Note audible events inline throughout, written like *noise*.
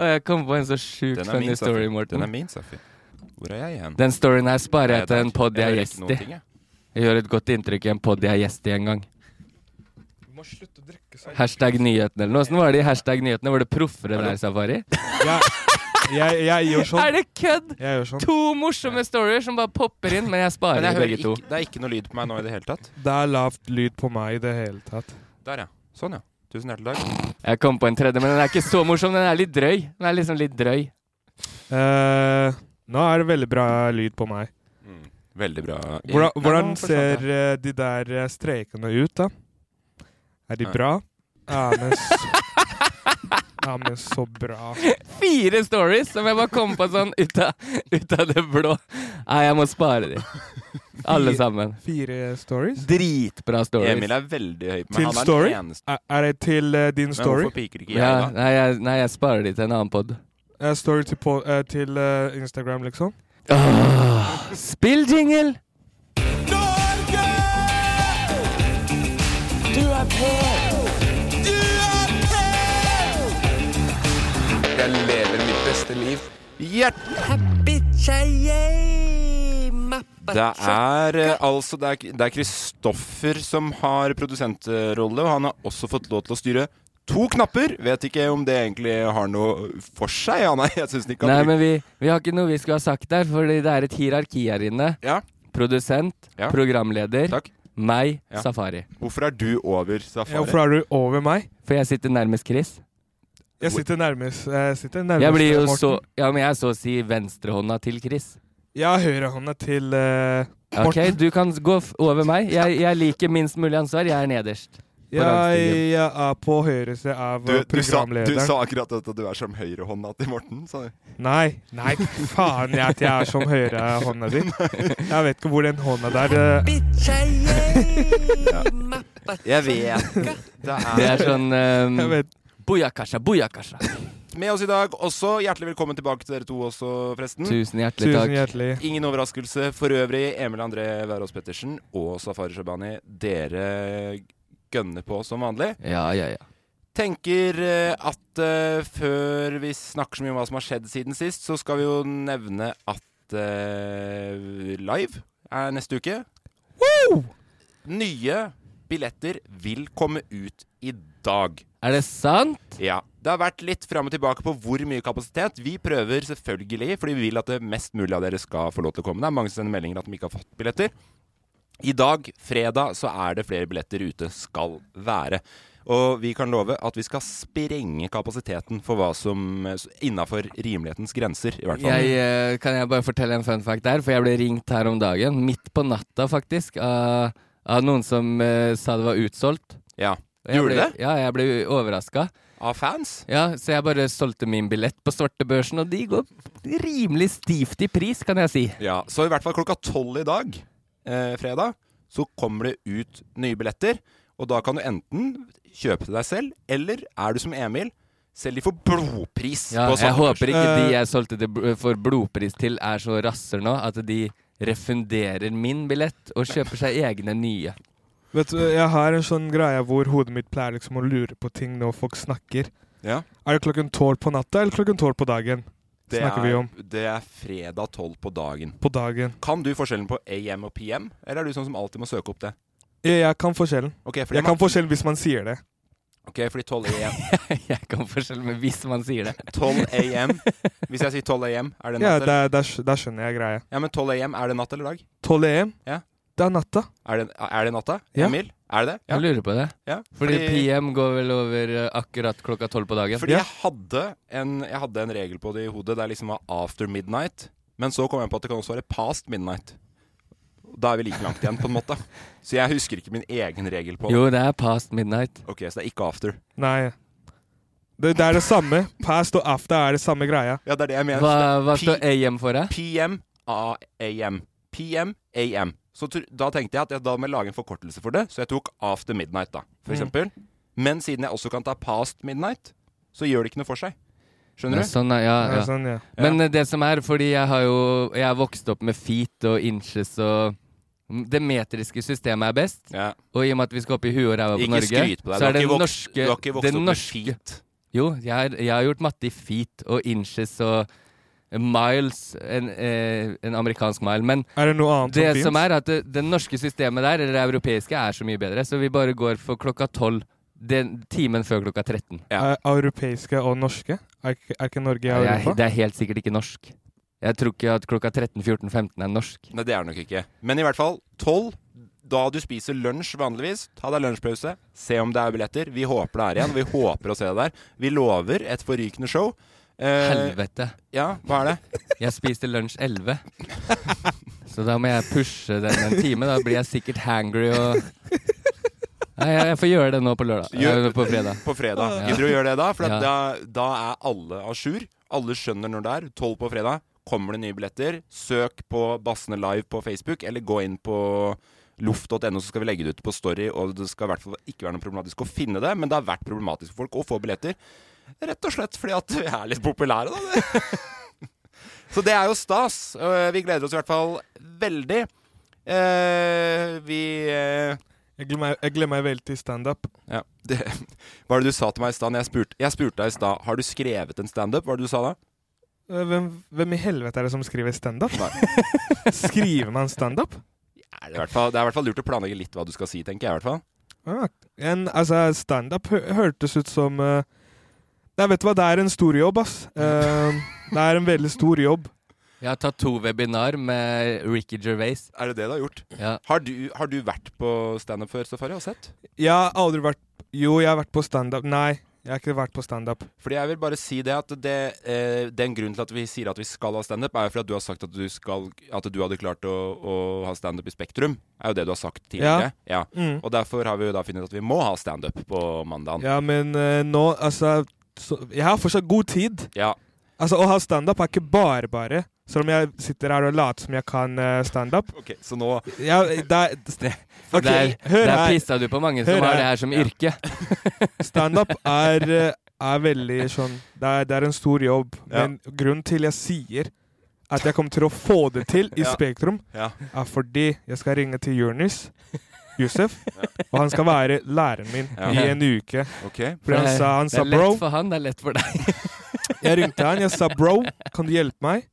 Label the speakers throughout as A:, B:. A: Og jeg kom på en så sjukt
B: Den er
A: funny
B: min,
A: story,
B: Safi. Den
A: Morten.
B: er min, Safi. Hvor er jeg hen?
A: Den storyen her sparer
B: Nei,
A: jeg til en pod jeg er
B: hører ikke
A: gjest
B: noen
A: i.
B: ting, jeg.
A: Jeg gjør et godt inntrykk i en pod jeg er gjest i en gang. Hashtag nyhetene eller noe. Åssen var det i hashtag nyhetene? Var det proffere der, Safari?
C: Jeg, jeg, jeg gjør
A: Er
C: sånn.
A: det kødd?!
C: Jeg gjør sånn.
A: To morsomme storier som bare popper inn, men jeg
B: Men
A: sparer
B: jeg hører
A: begge to.
B: ikke, det er ikke noe lyd på meg nå i det hele tatt.
C: Det er lavt lyd på meg i det hele tatt.
B: Der, ja. Sånn, ja. Tusen hjertelig takk.
A: Jeg kom på en tredje, men den er ikke så morsom. Den er litt drøy. Den er liksom litt drøy.
C: Eh, nå er det veldig bra lyd på meg.
B: Veldig bra. E-
C: Hvordan,
B: Nei,
C: hvordan
B: nå forsvant
C: ser
B: jeg.
C: eh, de der eh, strekene ut, da? Er de bra? Ja, men så, ja, men så bra.
A: Fire stories som jeg bare kom på sånn ut av, ut av det blå. Nei, jeg må spare de. Alle sammen.
C: Fire stories?
A: Dritbra stories.
B: Emil er veldig høy på meg.
C: Til
B: Han er den
C: story?
B: eneste-
C: Er, er det til eh, din
B: Men
C: story?
B: hvorfor piker ikke jeg,
A: Ja,
B: da?
A: nei, jeg, nei, jeg sparer de til en annen pod.
C: Eh, story til, på, eh, til eh, Instagram, liksom?
B: Ah.
A: Spill jingle!
B: Det er eh, altså Det er K- det er Kristoffer som har produsentrolle, og han har også fått lov til å styre to knapper. Vet ikke om det egentlig har noe for seg. Ja, nei, jeg syns ikke
A: Nei,
B: han
A: men vi, vi har ikke noe vi skulle ha sagt der, fordi det er et hierarki her inne.
B: Ja,
A: Produsent,
B: Ja.
A: programleder,
B: takk.
A: meg,
B: Ja.
A: Safari.
B: Hvorfor er du over
C: Ja,
B: safari?
C: hvorfor er du over meg?
A: For jeg sitter nærmest Chris.
C: Jeg sitter nærmest, jeg sitter nærmest
A: Jeg blir jo
C: Morten.
A: så Ja, men jeg er så å si venstrehånda til Chris.
C: Jeg har høyrehånda til eh,
A: OK,
C: Morten.
A: du kan gå f over meg. Jeg, jeg liker minst mulig ansvar. Jeg er nederst.
C: jeg,
A: rangstigen.
C: jeg er på høyre side av
B: du,
C: eh,
B: du, sa, du
C: programlederen.
B: sa akkurat at du er som høyrehånda til Morten. Sa du.
C: Nei, nei, faen jeg at jeg er som høyrehånda
B: *laughs*
C: di. Jeg vet ikke hvor den hånda der eh,
B: Mm. Jeg vet. Det
A: Det
C: *laughs*
A: er
B: er
A: sånn um,
C: Jeg vet
A: Booyakasha, booyakasha.
B: med oss i dag også. Hjertelig velkommen tilbake til dere to også, forresten.
A: Tusen hjertelig
C: Mm. Tusen
A: takk.
C: hjertelig.
B: Ingen overraskelse for øvrig. Emil André Wærås Pettersen og Safari Shabani, dere gønner på som vanlig.
A: Ja, ja, ja.
B: Tenker eh, at eh, før vi snakker så mye om hva som har skjedd siden sist, så skal vi jo nevne at eh, Live er neste uke. Nye billetter vil komme ut i dag.
A: Er det sant?
B: Ja. Det har vært litt fram og tilbake på hvor mye kapasitet. Vi prøver selvfølgelig, fordi vi vil at det mest mulig av dere skal få lov til å komme. Det er mange som sender meldinger at de ikke har fått billetter. I dag, fredag, så er det flere billetter ute skal være. Og vi kan love at vi skal sprenge kapasiteten for hva som Innafor rimelighetens grenser, i hvert fall.
A: Jeg, eh, kan jeg bare fortelle en fun fact der? For jeg ble ringt her om dagen, midt på natta faktisk, av, av noen som eh, sa det var utsolgt.
B: Ja.
A: Og jeg
B: Gjorde
A: ble,
B: det?
A: Ja, jeg ble overraska.
B: Av fans?
A: Ja, så jeg bare solgte min billett på svartebørsen, og de går rimelig stivt i pris, kan jeg si.
B: Ja. Så i hvert fall klokka tolv i dag eh, eh, fredag, så kommer det ut nye billetter. Og da kan du enten kjøpe til deg selv, eller er du som Emil, selg de for blodpris.
A: Ja,
B: på Eh.
A: jeg
B: Saltmarsh.
A: håper ikke de jeg solgte det bl- for blodpris til, er så rasser nå at de refunderer min billett og kjøper seg egne nye. *laughs*
C: Vet du, Jeg har en sånn greie hvor hodet mitt pleier liksom å lure på ting når folk snakker.
B: Eh, Ja,
C: Er det klokken tolv på natta eller klokken tolv på dagen?
B: det
C: snakker vi
B: er-
C: om.
B: Det er fredag tolv på dagen.
C: På dagen.
B: Kan du forskjellen på AM og PM, eller er du sånn som alltid må søke opp det?
C: Jeg, jeg kan forskjellen.
B: Ok, fordi,
C: Jeg kan forskjellen hvis man sier det.
B: Ok, fordi 12 AM
A: Jeg kan forskjell med hvis man sier det.
B: 12 AM. Hvis jeg sier 12 AM, er
C: *laughs*
B: det natt?
C: Ja,
B: eller?
C: der, der, skj- der skjønner jeg greia.
B: ja, men 12 AM, er det natt eller dag?
C: 12 EM,
B: Ja.
C: det er natta.
B: Er det, er det natta?
C: Ja.
B: Emil? Er det det?
A: Jeg lurer på det.
B: ja.
A: Fordi PM går vel over eh, akkurat klokka tolv på dagen.
B: fordi jeg, hadde en, jeg hadde en regel på det i hodet der liksom var after midnight. Men så kom jeg på at det kan også være past midnight. Da er vi like langt igjen, på en måte. Så jeg husker ikke min egen regel på det.
A: Jo, det er past midnight.
B: Ok, Så det er ikke after.
C: Nei. Det, det er det samme. Past og after er det samme greia.
B: Ja, det er det jeg mener.
A: Hva, hva
B: P-
A: står AM for, da?
B: PM, A- AM. PM, AM. Så tr- da tenkte jeg at jeg da må jeg lage en forkortelse for det, så jeg tok after midnight, da, for
A: Mm.
B: eksempel. Men siden jeg også kan ta past midnight, så gjør det ikke noe for seg. Skjønner
A: Ja,
B: du?
A: sånn, er- ja,
C: Ja,
A: ja.
C: sånn, ja.
A: Men eh, det som er, fordi jeg har jo Jeg er vokst opp med feet og inches og Det metriske systemet er best.
B: Ja.
A: Og i og med at vi skal opp i huet og ræva på
B: Ikke
A: Norge,
B: skryt på
A: så
B: deg.
A: er
B: Du har
A: det
B: ikke vokst-
A: norske
B: du har ikke vokst
A: det
B: opp med
A: norske-
B: feet.
A: Jo, jeg, har- jeg har gjort matte i feet og inches og miles, en, eh, en amerikansk mile. Men
C: Er det noe annet
A: det
C: finnes?
A: som er at det, det norske systemet der, eller det europeiske, er så mye bedre, så vi bare går for klokka tolv. Den timen før klokka 13.
B: Ja.
C: Er europeiske og norske? Er ikke, er ikke Norge i
A: Jeg,
C: Europa?
A: det er helt sikkert ikke norsk. Jeg tror ikke at klokka 13, 14, 15 er norsk.
B: Nei, det er det nok ikke. Men i hvert fall tolv. Da du spiser lunsj vanligvis, ta deg lunsjpause, se om det er billetter. Vi håper det er igjen, og vi håper å se deg der. Vi lover et forrykende show. Eh,
A: Helvete.
B: ja, hva er det?
A: Jeg spiste lunsj 11. Så da må jeg pushe den en time. Da blir jeg sikkert hangry og Nei, jeg, jeg får gjøre det nå på lørdag.
B: Gjør-
A: Eh, på fredag.
B: På fredag.
A: Ja.
B: Gidder du å gjøre det da? For at
A: Ja.
B: da, da er alle à jour. Alle skjønner når det er. Tolv på fredag kommer det nye billetter. Søk på Bassene Live på Facebook, eller gå inn på loff.no, så skal vi legge det ut på Story. Og det skal i hvert fall ikke være noe problematisk å finne det, men det har vært problematisk for folk å få billetter. Rett og slett fordi at vi er litt populære, da. *laughs* så det er jo stas. og Vi gleder oss i hvert fall veldig. Eh, vi eh,
C: Jeg glemmer, jeg glemmer veldig til standup.
B: ja. Det, *laughs* hva var det du sa til meg i stad? når Jeg spurte jeg spurte deg i stad har du skrevet en standup. Hva var det du sa da?
C: Eh, Hvem, hvem i helvete er det som skriver standup?
B: Nei.
C: *laughs* Skriver man standup?
B: Er det, i hvert fall, det er i hvert fall lurt å planlegge litt hva du skal si, tenker jeg. i hvert fall
C: Ja, en- Altså, standup hø hørtes ut som eh, Nei, vet du hva, det er en stor jobb, ass. Eh, det er en veldig stor jobb.
A: Jeg har tatt to webinar med Ricky Gervais.
B: Er det det du har gjort?
A: Ja.
B: Har du, har du vært på standup før, Safari? Og sett?
C: Jeg har aldri vært Jo, jeg har vært på standup. Nei, jeg har ikke vært på standup.
B: Fordi jeg vil bare si det at det, eh, den grunnen til at vi sier at vi skal ha standup, er jo fordi at du har sagt at du, skal, at du hadde klart å, å ha standup i Spektrum. er jo det du har sagt tidligere. Ja.
C: Mm.
B: Og derfor har vi jo da funnet ut at vi må ha standup på mandagen.
C: Ja, men eh, nå, altså så, Jeg har fortsatt god tid.
B: Ja.
C: Altså, å ha standup er ikke bare bare. Selv om jeg sitter her og later som jeg kan eh, standup.
B: Ok, så nå
C: Jeg- det er- Ok,
A: der
C: hør
A: der
C: her.
A: pissa du på mange som
C: Hør
A: har
C: her.
A: det her som yrke.
C: Standup er, eh, er veldig sånn det er, det er en stor jobb,
B: Ja.
C: men grunnen til jeg sier at jeg kommer til å få det til i
B: Ja.
C: Spektrum,
B: Ja.
C: er fordi jeg skal ringe til Jonis Yousef, og han skal være læreren min
B: Ja.
C: i en uke.
B: Ok.
C: For han sa, han
A: det
C: sa
A: er
C: bro.
A: lett for han, det er lett for deg.
C: Jeg ringte han, jeg sa bro, kan du hjelpe meg?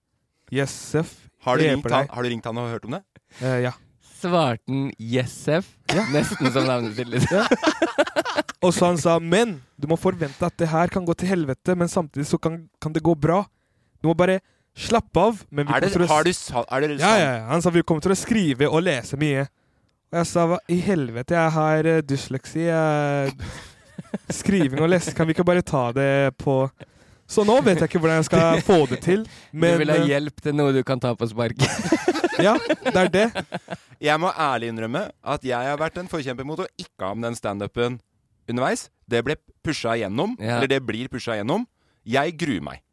C: Yes, Sef.
B: Har du,
C: Jeg
B: ringt
C: hjelper
B: han,
C: deg.
B: har du ringt han og hørt om det?
C: Eh, ja.
A: Svarten Jessef. Nesten som navnet sitt. liksom.
C: Og så han sa, men du må forvente at det her kan gå til helvete, men samtidig så kan, kan det gå bra. Du må bare slappe av. Men vi
B: Er det,
C: kommer til å-
B: har du, sa- er det
C: Ja, ja, ja. Han sa vi kommer til å skrive og lese mye. Og jeg sa hva i helvete, jeg har eh, dysleksi. Jeg... Skriving og lesing, kan vi ikke bare ta det på Så nå vet jeg ikke hvordan jeg skal få det til, men
A: du vil ha
C: eh,
A: hjelp til noe du kan ta på sparket.
C: ja, det er det.
B: Jeg må ærlig innrømme at jeg har vært en forkjemper mot å ikke ha med den standupen underveis. Det ble pusha igjennom.
A: Ja.
B: Eller det blir pusha igjennom. Jeg gruer meg.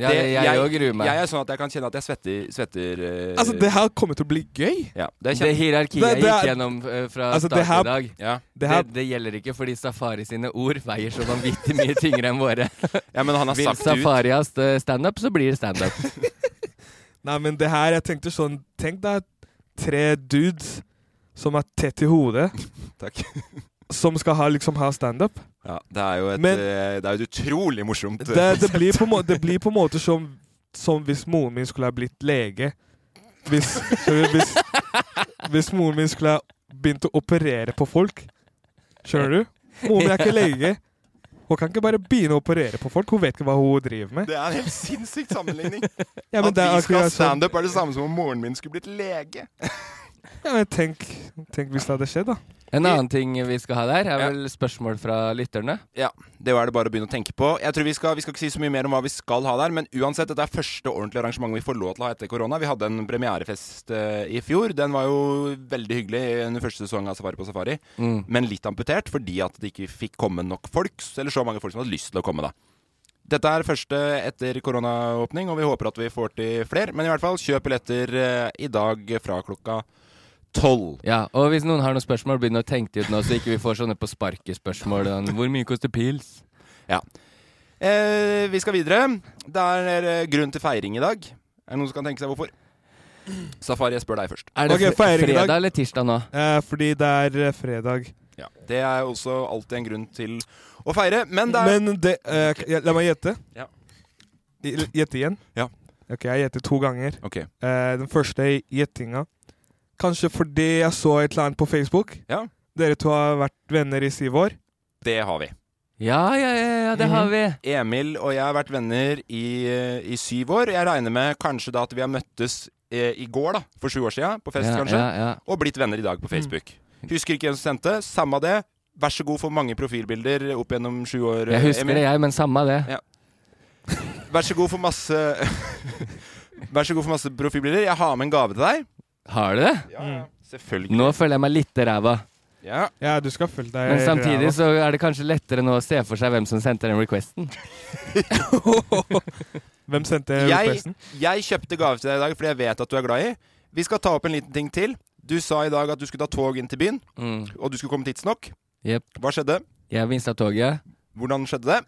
A: Ja,
B: Det-
A: jeg òg gruer meg.
B: Jeg er sånn at jeg kan kjenne at jeg svetter, svetter eh,
C: Altså, det her kommer til å bli gøy!
B: ja, det er
A: det
B: kjempe...
A: hierarkiet
C: Det- det
A: jeg gikk
C: er-
A: gjennom eh, fra
C: Altså, det
A: start
C: her-
A: i dag,
B: ja.
C: Det
A: det,
C: her,
A: det gjelder ikke fordi Safari sine ord veier så vanvittig mye tyngre enn våre.
B: ja, men han har
A: Vil
B: sagt det ut.
A: Safari ha st- standup, så blir det standup.
C: nei, men det her Jeg tenkte sånn Tenk da tre dudes som er tett i hodet,
B: Takk.
C: som skal ha, liksom, ha standup.
B: Ja, det er jo et,
C: Men-
B: eh, det er jo et utrolig morsomt eh,
C: Det, det, blir på en må, det blir på en måte som, som hvis moren min skulle ha blitt lege. Hvis, skjønner du, hvis, hvis moren min skulle ha begynt å operere på folk. Skjønner du? Moren min er ikke lege. Hun kan ikke bare begynne å operere på folk. Hun vet ikke hva hun driver med.
B: Det er en helt sinnssyk sammenligning.
C: Ja, men
B: At
C: det er
B: vi skal ha
C: akkurat sånn.
B: standup, er det samme som om moren min skulle blitt lege.
C: Ja, men tenk, tenk hvis det hadde skjedd, da.
A: En annen ting vi skal ha der, er
B: Ja.
A: vel spørsmål fra lytterne.
B: Ja, Det er det bare å begynne å tenke på. Jeg tror Vi skal, vi skal ikke si så mye mer om hva vi skal ha der, men uansett, dette er første ordentlige arrangement vi får lov til å ha etter korona. Vi hadde en premierefest eh, i fjor. Den var jo veldig hyggelig under første sesong av Safari på Safari, men litt amputert fordi at det ikke fikk komme nok folk, eller så mange folk som hadde lyst til å komme, da. Dette er første etter koronaåpning, og vi håper at vi får til flere. Men i hvert fall, kjøp billetter eh, i dag fra klokka tolv.
A: Ja, Og hvis noen har noen spørsmål, begynn å tenke ut nå, så ikke vi får sånne på sparket-spørsmål. sånn, Hvor mye koster pils?
B: Eh, vi skal videre. Det er eh, grunn til feiring i dag. Er det noen som kan tenke seg hvorfor? Safari, jeg spør deg først.
A: Er det
C: Ok,
A: fre-
C: feiring i dag.
A: fredag eller tirsdag nå?
C: Eh, fordi det er eh, fredag.
B: Ja. Det er også alltid en grunn til å feire, men det er
C: Men det eh, k- ja, La meg gjette.
B: Ja.
C: I- Gjette igjen?
B: Ja.
C: OK, jeg gjetter to ganger.
B: Ok.
C: Eh, den første gjettinga. Kanskje fordi jeg så et eller annet på Facebook.
B: Ja.
C: Dere to har vært venner i syv år.
B: Det har vi.
A: Ja, ja, ja, ja, det har vi.
B: Emil og jeg har vært venner i, eh, i syv år. Jeg regner med kanskje da at vi har møttes eh, i går, da. For sju år siden. På fest,
A: ja,
B: kanskje.
A: Ja, Mm. ja.
B: Og blitt venner i dag på Facebook. Husker ikke hvem som sendte. Samme det. Vær så god for mange profilbilder opp gjennom sju år.
A: Jeg husker
B: Emil.
A: det, jeg, men samme det.
B: Ja. Vær så god for masse *laughs* Vær så god for masse profilbilder. Jeg har med en gave til deg.
A: Har du det?
B: Selvfølgelig.
A: Nå føler jeg meg litt ræva.
B: Ja.
C: Ja, du skal følge deg
A: Men
C: i
A: samtidig
C: ræva.
A: så er det kanskje lettere nå å se for seg hvem som sendte den requesten.
C: Hvem sendte
B: Jeg,
C: requesten?
B: jeg kjøpte gave til deg i dag fordi jeg vet at du er glad i. Vi skal ta opp en liten ting til. Du sa i dag at du skulle ta tog inn til byen,
A: Mm.
B: og du skulle komme tidsnok.
A: Jep.
B: Hva skjedde?
A: Jeg mista toget.
B: Hvordan skjedde det?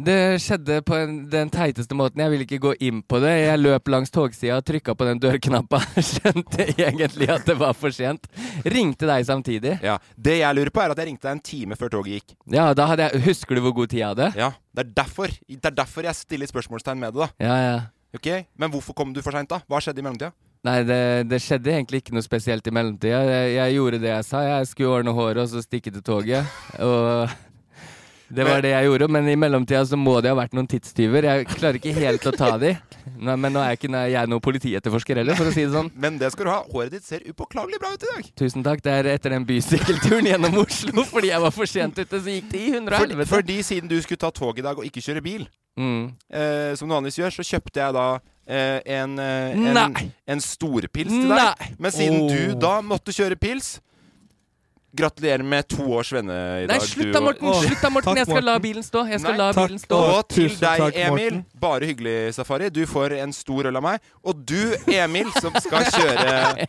A: Det skjedde på en, den teiteste måten. Jeg ville ikke gå inn på det. Jeg løp langs togsida og trykka på den dørknappa. *laughs* Skjønte egentlig at det var for sent. Ringte deg samtidig.
B: Ja. Det jeg lurer på, er at jeg ringte deg en time før toget gikk.
A: Ja, da hadde jeg Husker du hvor god tid jeg hadde?
B: Ja, Det er derfor Det er derfor jeg stiller spørsmålstegn med det, da.
A: Ja, ja.
B: Ok? Men hvorfor kom du for seint, da? Hva skjedde i mellomtida?
A: Nei, det, det skjedde egentlig ikke noe spesielt i mellomtida. Jeg, jeg gjorde det jeg sa. Jeg skulle ordne håret og så stikke til toget. Og det var det jeg gjorde. Men i mellomtida så må det ha vært noen tidstyver. Jeg klarer ikke helt å ta de. Nei, men nå er jeg ikke nei, jeg er noen politietterforsker heller, for å si det sånn.
B: Men det skal du ha. Håret ditt ser upåklagelig bra ut i dag.
A: Tusen takk. Det er etter den bysykkelturen gjennom Oslo fordi jeg var for sent ute, så gikk det i hundre og
B: Fordi,
A: helvete.
B: fordi siden du skulle ta tog i dag og ikke kjøre bil,
A: Mm.
B: eh, som du vanligvis gjør, så kjøpte jeg da eh, en, eh, en,
A: Nei.
B: en storpils til deg.
A: Nei.
B: Men siden
A: Oh.
B: du da måtte kjøre pils Gratulerer med to års venne i
A: Nei,
B: dag.
A: slutt
B: du
A: da,
B: og-
A: Morten!
C: Åh,
A: Slutt da, Morten!
C: takk,
A: Jeg skal la
C: Morten.
A: bilen stå. Jeg skal
B: Nei,
A: la
C: takk.
A: bilen stå.
C: Åh.
B: Og til
C: Tusen
B: deg,
C: takk,
B: Emil.
C: Morten.
B: Bare hyggelig, Safari. Du får en stor øl av meg. Og du, Emil, som
A: *laughs*
B: skal kjøre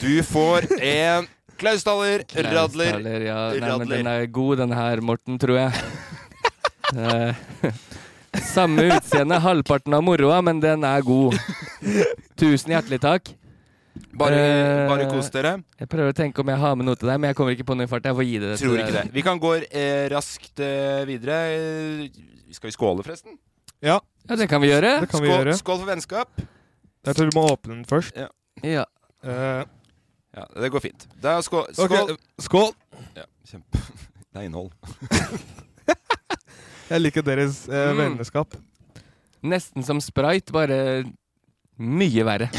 B: Du får en Klausthaler Radler.
A: Klausthaler, Ja, nei, men
B: Radler.
A: den er god, den her, Morten, tror jeg. Eh, *laughs* Samme utseende, halvparten av moroa, men den er god. Tusen hjertelig takk.
B: Bare,
A: Eh,
B: bare kos dere.
A: Jeg prøver å tenke om jeg har med noe til deg, men jeg kommer ikke på noe i farta. Jeg får gi det. til
B: Tror ikke det.
A: deg.
B: Vi kan gå eh, raskt eh, videre. Eh, Skal vi skåle, forresten?
C: Ja,
A: Ja, det kan vi gjøre.
C: det kan vi
B: skål,
C: gjøre.
B: skål for vennskap.
C: Jeg tror du må åpne den først.
A: Ja.
C: Eh,
B: Ja, Det går fint. Da skål.
C: ok, eh,
B: skål.
C: skål!
B: Ja, kjempe. *laughs* Det er innhold.
C: Jeg liker deres eh,
A: Mm.
C: vennskap.
A: Nesten som sprite, bare mye verre.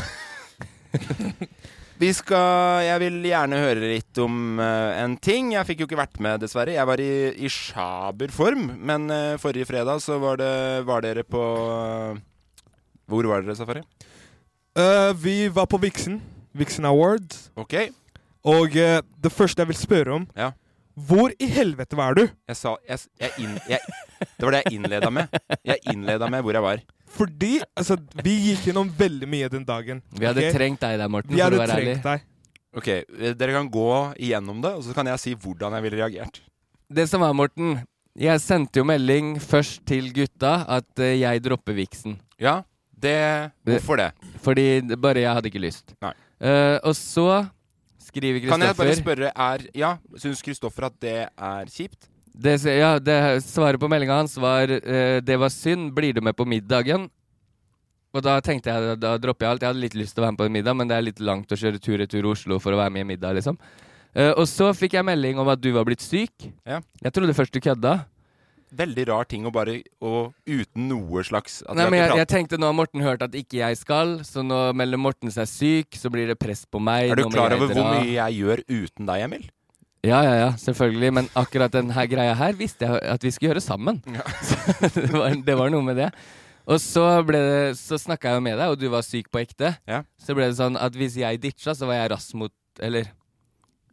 B: Vi skal, jeg vil gjerne høre litt om eh, en ting. Jeg fikk jo ikke vært med, dessverre. Jeg var i, i sjaber form, men eh, forrige fredag så var, det, var dere på eh, Hvor var dere, Safari?
C: Eh, vi var på Vixen. Vixen Awards.
B: OK, jeg,
C: Og eh, det første jeg vil spørre om
B: Ja.
C: Hvor i helvete var du?
B: sa, jeg, s- jeg, inn, jeg Det var det jeg innleda med. Jeg innleda med hvor jeg var.
C: Fordi altså, vi gikk gjennom veldig mye den dagen.
A: Vi hadde
C: ok?
A: trengt deg der, Morten,
C: Vi
A: for å
C: hadde
A: være ærlig.
C: trengt deg.
B: Ok, eh, dere kan gå igjennom det, og så kan jeg si hvordan jeg ville reagert.
A: Det som var, Morten, jeg sendte jo melding først til gutta at eh, jeg dropper viksen.
B: Ja, det Hvorfor det?
A: Fordi det, bare jeg hadde ikke lyst.
B: Nei.
A: Eh, og så skriver
B: Kan jeg bare
A: Kristoffer
B: spørre er Ja, syns Kristoffer at det er kjipt?
A: det, s- ja, det Svaret på meldinga hans var eh, 'Det var synd, blir du med på middagen?' Og da tenkte jeg da dropper jeg alt. Jeg hadde litt lyst til å være med på en middag, men det er litt langt å kjøre tur-retur Oslo for å være med i middag, liksom. Eh, og så fikk jeg melding om at du var blitt syk.
B: Ja.
A: Jeg trodde først du kødda.
B: Veldig rar ting å bare å, Uten noe slags at
A: Nei,
B: vi
A: men
B: har
A: jeg,
B: ikke
A: jeg tenkte nå har Morten hørt at ikke jeg skal, så nå melder Morten seg syk, så blir det press på meg.
B: pratet. Er
A: nå
B: du
A: må
B: klar
A: jeg
B: over hvor
A: dra.
B: mye jeg gjør uten deg, Emil?
A: Ja, ja, ja, selvfølgelig. Men akkurat den her greia her visste jeg at vi skulle gjøre sammen. *laughs* Så det, var, det var noe med det. Og så, ble det, så snakka jeg jo med deg, og du var syk på ekte.
B: Ja.
A: Så ble det sånn at hvis jeg ditcha, så var jeg rask mot Eller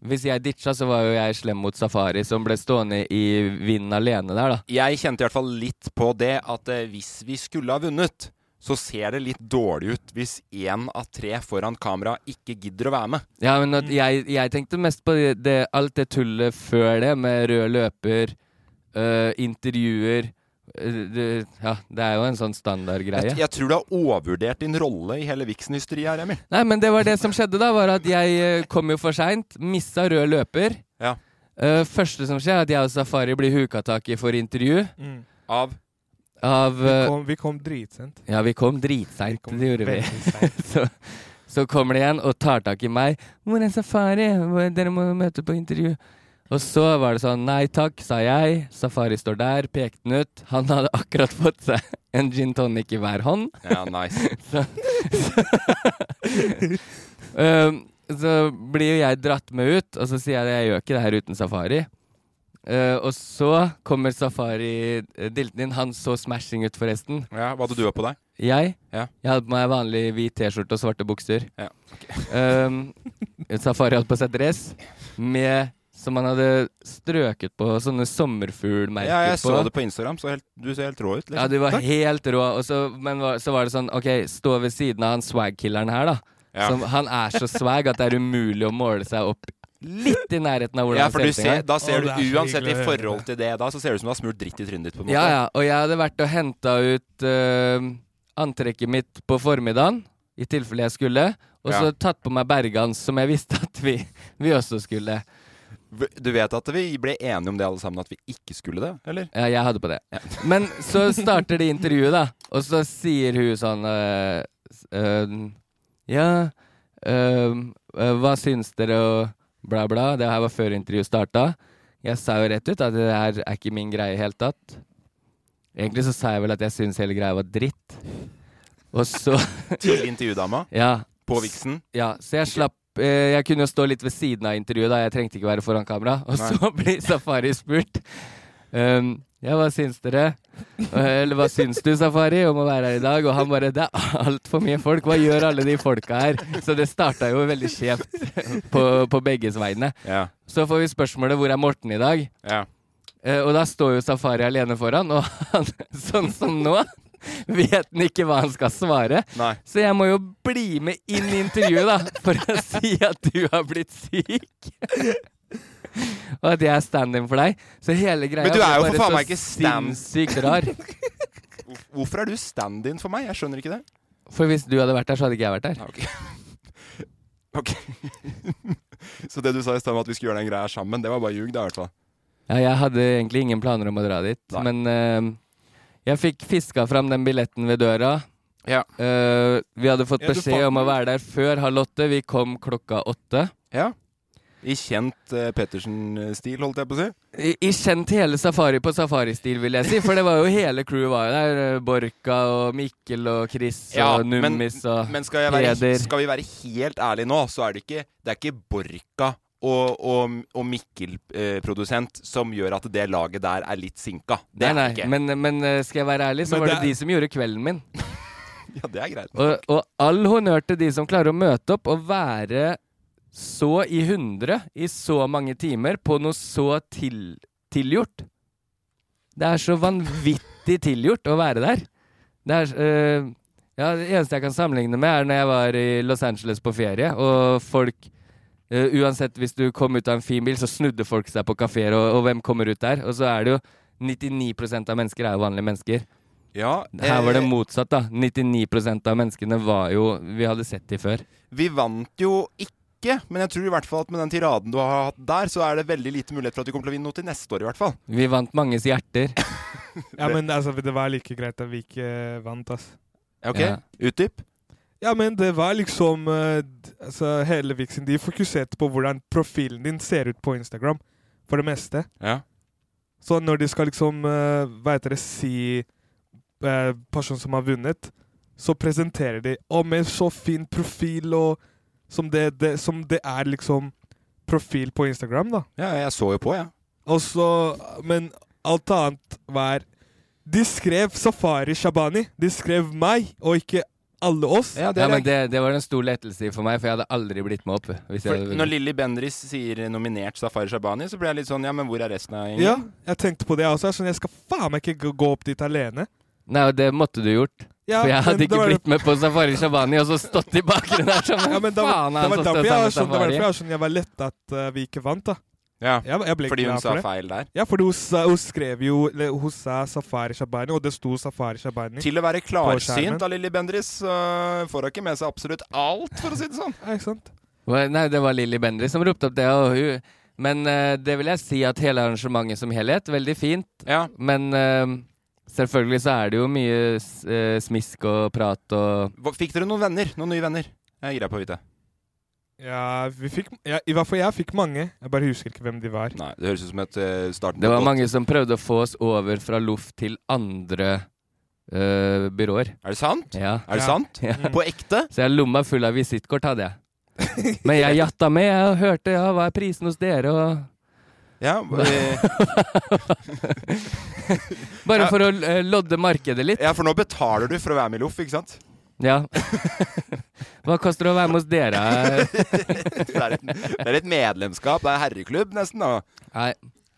A: hvis jeg ditcha, så var jo jeg slem mot Safari, som ble stående i vinden alene der, da.
B: Jeg kjente i hvert fall litt på det at eh, hvis vi skulle ha vunnet, så ser det litt dårlig ut hvis én av tre foran kamera ikke gidder å være med.
A: Ja, men at jeg, jeg tenkte mest på det, det, alt det tullet før det, med rød løper, øh, intervjuer øh, det, Ja, det er jo en sånn standardgreie.
B: Jeg, jeg tror du har overvurdert din rolle i hele Vixen-hysteriet her, Emil.
A: Nei, men det var det som skjedde, da. Var at jeg eh, kom jo for seint. Missa rød løper.
B: Ja.
A: Eh, første som skjer, er at jeg og Safari blir huka tak i for intervju
C: Mm.
B: Av
A: av
C: Vi,
A: eh,
C: kom, vi kom dritsent.
A: Ja, vi kom
C: Vi
A: dritseint,
C: kom
A: det gjorde vi.
C: veldig sent.
A: *laughs* så, så kommer de igjen og tar tak i meg. 'Hvor er Safari? Hvor- Dere må møte på intervju.' Og så var det sånn 'Nei takk', sa jeg. Safari står der, pekte den ut. Han hadde akkurat fått seg en gin tonic i hver hånd.
B: Ja, nice.
A: Um, så blir jo jeg dratt med ut, og så sier jeg at jeg gjør ikke det her uten Safari. Uh, og så kommer Safari-dilten inn. Han så smashing ut, forresten.
B: *laughs* Ja, hva hadde du på deg?
A: Jeg?
B: Ja.
A: Jeg hadde på meg vanlig hvit T-skjorte og svarte bukser.
B: Ja,
A: um, safari hadde på seg dress med, som han hadde strøket på, sånne sommerfuglmerker
B: Ja, jeg
A: på.
B: så det på Instagram, så helt, du ser helt rå ut.
A: Ja,
B: Liksom.
A: du var helt rå. Og så, men var, så var det sånn, OK, stå ved siden av han swag-killeren her, da.
B: Ja.
A: Som, han er så swag at det er umulig å måle seg opp litt i nærheten av hvordan
B: Ja,
A: han
B: for
A: ser
B: du
A: ut.
B: ser,
A: engang.
B: da ser
C: Å, det er
B: du
C: så
B: uansett i
C: hyggelig å høre
B: forhold
C: det.
B: til det, da så ser det ut som du har smurt dritt i trynet ditt, på en måte.
A: Ja, ja. Og jeg hadde vært og henta ut øhm, antrekket mitt på formiddagen, i tilfelle jeg skulle. Og
B: Ja.
A: så tatt på meg bergans, som jeg visste at vi, vi også skulle.
B: V- Du vet at vi ble enige om det alle sammen, at vi ikke skulle det,
A: *laughs*
B: eller?
A: Ja, jeg hadde på det. Men så starter det intervjuet, da. Og så sier hun sånn øh, s- øhm, Ja, øhm, øh, hva syns dere og bla, bla. Det her var før intervjuet starta. Jeg sa jo rett ut at det her er ikke min greie i det hele tatt. Egentlig så sa jeg vel at jeg syns hele greia var dritt. Og så
B: Til intervjudama
A: Ja,
B: på Vixen.
A: ja, så jeg slapp eh, Jeg kunne jo stå litt ved siden av intervjuet, da. Jeg trengte ikke være foran kamera. Og
B: Nei.
A: så *laughs* blir Safari spurt. Um, ja, hva syns dere? Eh, Eller hva syns du, Safari, om å være her i dag? Og han bare Det er altfor mye folk. Hva gjør alle de folka her? Så det starta jo veldig skjevt på, på begges vegne.
B: Ja,
A: Så får vi spørsmålet hvor er Morten i dag?
B: ja.
A: Eh, og da står jo Safari alene foran, og han, *laughs* sånn som nå, vet han ikke hva han skal svare.
B: Nei.
A: Så jeg må jo bli med inn i intervjuet, da, for å si at du har blitt syk. Og at jeg er stand-in for deg. Så hele greia
B: Men du
A: var
B: er jo for
A: bare
B: faen
A: så
B: meg ikke stand-
A: Sinnssykt rar.
B: Hvor- Hvorfor er du stand-in for meg? Jeg skjønner ikke det.
A: For hvis du hadde vært der, så hadde ikke jeg vært der.
B: Ja, ok. *laughs* ok. *laughs* Så det du sa i sted om at vi skulle gjøre den greia sammen, det var bare ljug, da, i hvert fall.
A: Ja, jeg hadde egentlig ingen planer om å dra dit,
B: Nei.
A: men eh, jeg fikk fiska fram den billetten ved døra.
B: Ja.
A: Eh, vi hadde fått
C: Ja, du
A: beskjed
C: fant
A: om å
C: den.
A: være der før halv åtte. Vi kom klokka åtte.
B: Ja. I kjent eh, Pettersen-stil, holdt jeg på å si.
A: I, i kjent hele safari på safaristil, vil jeg si. For det var jo hele crewet var jo der. eh, Borka og Mikkel og Chris og Nummis og
B: men skal, jeg være,
A: Peder.
B: skal vi være helt ærlige nå, så er det ikke, det er ikke Borka og, og, og Mikkel, eh, produsent, som gjør at det laget der er litt sinka. Det
A: Nei, nei,
B: er det ikke.
A: men, men eh, skal jeg være ærlig, så
C: Men
A: var det
C: det er-
A: de som gjorde kvelden min.
B: Ja, det er greit.
A: Og, og all honnør til de som klarer å møte opp og være så i hundre i så mange timer på noe så til, tilgjort. Det er så vanvittig tilgjort å være der. Det er eh, Ja, det eneste jeg kan sammenligne med, er når jeg var i Los Angeles på ferie, og folk eh, Uansett, hvis du kom ut av en fin bil, så snudde folk seg på kafeer, og, og hvem kommer ut der? Og så er det jo 99 av mennesker er jo vanlige mennesker.
B: Ja,
A: Her var det
B: eh,
A: motsatt, da. 99 av menneskene var jo Vi hadde sett de før.
B: eh, Vi vant jo ikke, men jeg tror i hvert fall at med den tiraden du har hatt der, så er det veldig lite mulighet for at du kommer til å vinne noe til neste år, i hvert fall.
A: Vi vant manges hjerter.
C: Ja, men altså, det var like greit at vi ikke eh, vant, ass.
B: Ok,
A: Ja.
B: Utdyp.
C: Ja, men det var liksom eh, d- altså, Hele Vixen de fokuserte på hvordan profilen din ser ut på Instagram, for det meste.
B: Ja.
C: Så når de skal liksom, eh, hva heter det, si eh, personen som har vunnet, så presenterer de Å, med så fin profil og Som det, det, som det er liksom profil på Instagram, da.
B: ja, jeg så jo på, jeg.
C: Og så Men alt annet var De skrev Safari Shabani. De skrev meg, og ikke alle oss.
B: Ja, det
A: Ja,
B: er
A: men det, det var en stor lettelse for meg, for jeg hadde aldri blitt med opp. Hvis jeg
B: For
A: hadde
B: når Lilly Bendriss sier nominert Safari Shabani, så blir jeg litt sånn Ja, men hvor er resten av gjengen?
C: Ja, jeg tenkte på det jeg også. Jeg, er sånn, jeg skal faen meg ikke gå- gå opp dit alene.
A: Nei, og det måtte du gjort.
C: Ja,
A: for jeg
C: men
A: hadde
C: det
A: ikke
C: var-
A: blitt med på Safari Shabani og så stått i bakgrunnen her som
C: Ja, men det var,
A: faen
C: det
A: er
C: var
A: han som
C: derfor
A: står
C: jeg var sånn,
A: sammen med
C: det var derfor jeg
A: Safari?
C: var sånn, jeg var letta at eh, vi ikke vant, da.
B: Ja,
C: Jeg, jeg ble
B: Fordi hun
C: glad
B: sa
C: for det.
B: feil der.
C: Ja, fordi hun, sa, hun skrev jo eller, Hun sa Safari Shabani, og det sto Safari Shabani.
B: Til å være
C: skjermen.
B: klarsynt av Lilly Bendriss øh, får hun ikke med seg absolutt alt, for å si det sånn.
C: Ja, ikke sant?
A: Hva- Nei, det var Lilly Bendriss som ropte opp det. Og hun. Men eh, det vil jeg si at hele arrangementet som helhet, veldig fint.
B: Ja,
A: Men eh, selvfølgelig så er det jo mye s- eh, smisk og prat og
B: Hva- Fikk dere noen venner? Noen nye venner? Jeg er gira på å vite.
C: Ja, vi fikk ja, I hvert fall jeg fikk mange. Jeg bare husker ikke hvem de var.
B: Nei, det høres ut som et øh, starten
A: Det
B: på
A: var
B: et godt-
A: mange som prøvde å få oss over fra loff til andre eh, byråer.
B: Er det sant?
A: Ja.
B: Er
C: Ja.
B: det sant?
A: ja.
B: På ekte?
A: Så jeg lomma full av visittkort hadde jeg. Men
B: *laughs*
A: jeg jatta med jeg, og hørte ja, hva er prisen hos dere, og
B: *laughs* Ja. øh,
A: Bare
B: Ja.
A: for å eh, lodde markedet litt.
B: ja, for nå betaler du for å være med i Loff, ikke sant? *laughs*
A: Ja. Hva koster det å være med hos dere?
B: Det er et, det er et medlemskap. Det er herreklubb, nesten. da.
A: Nei,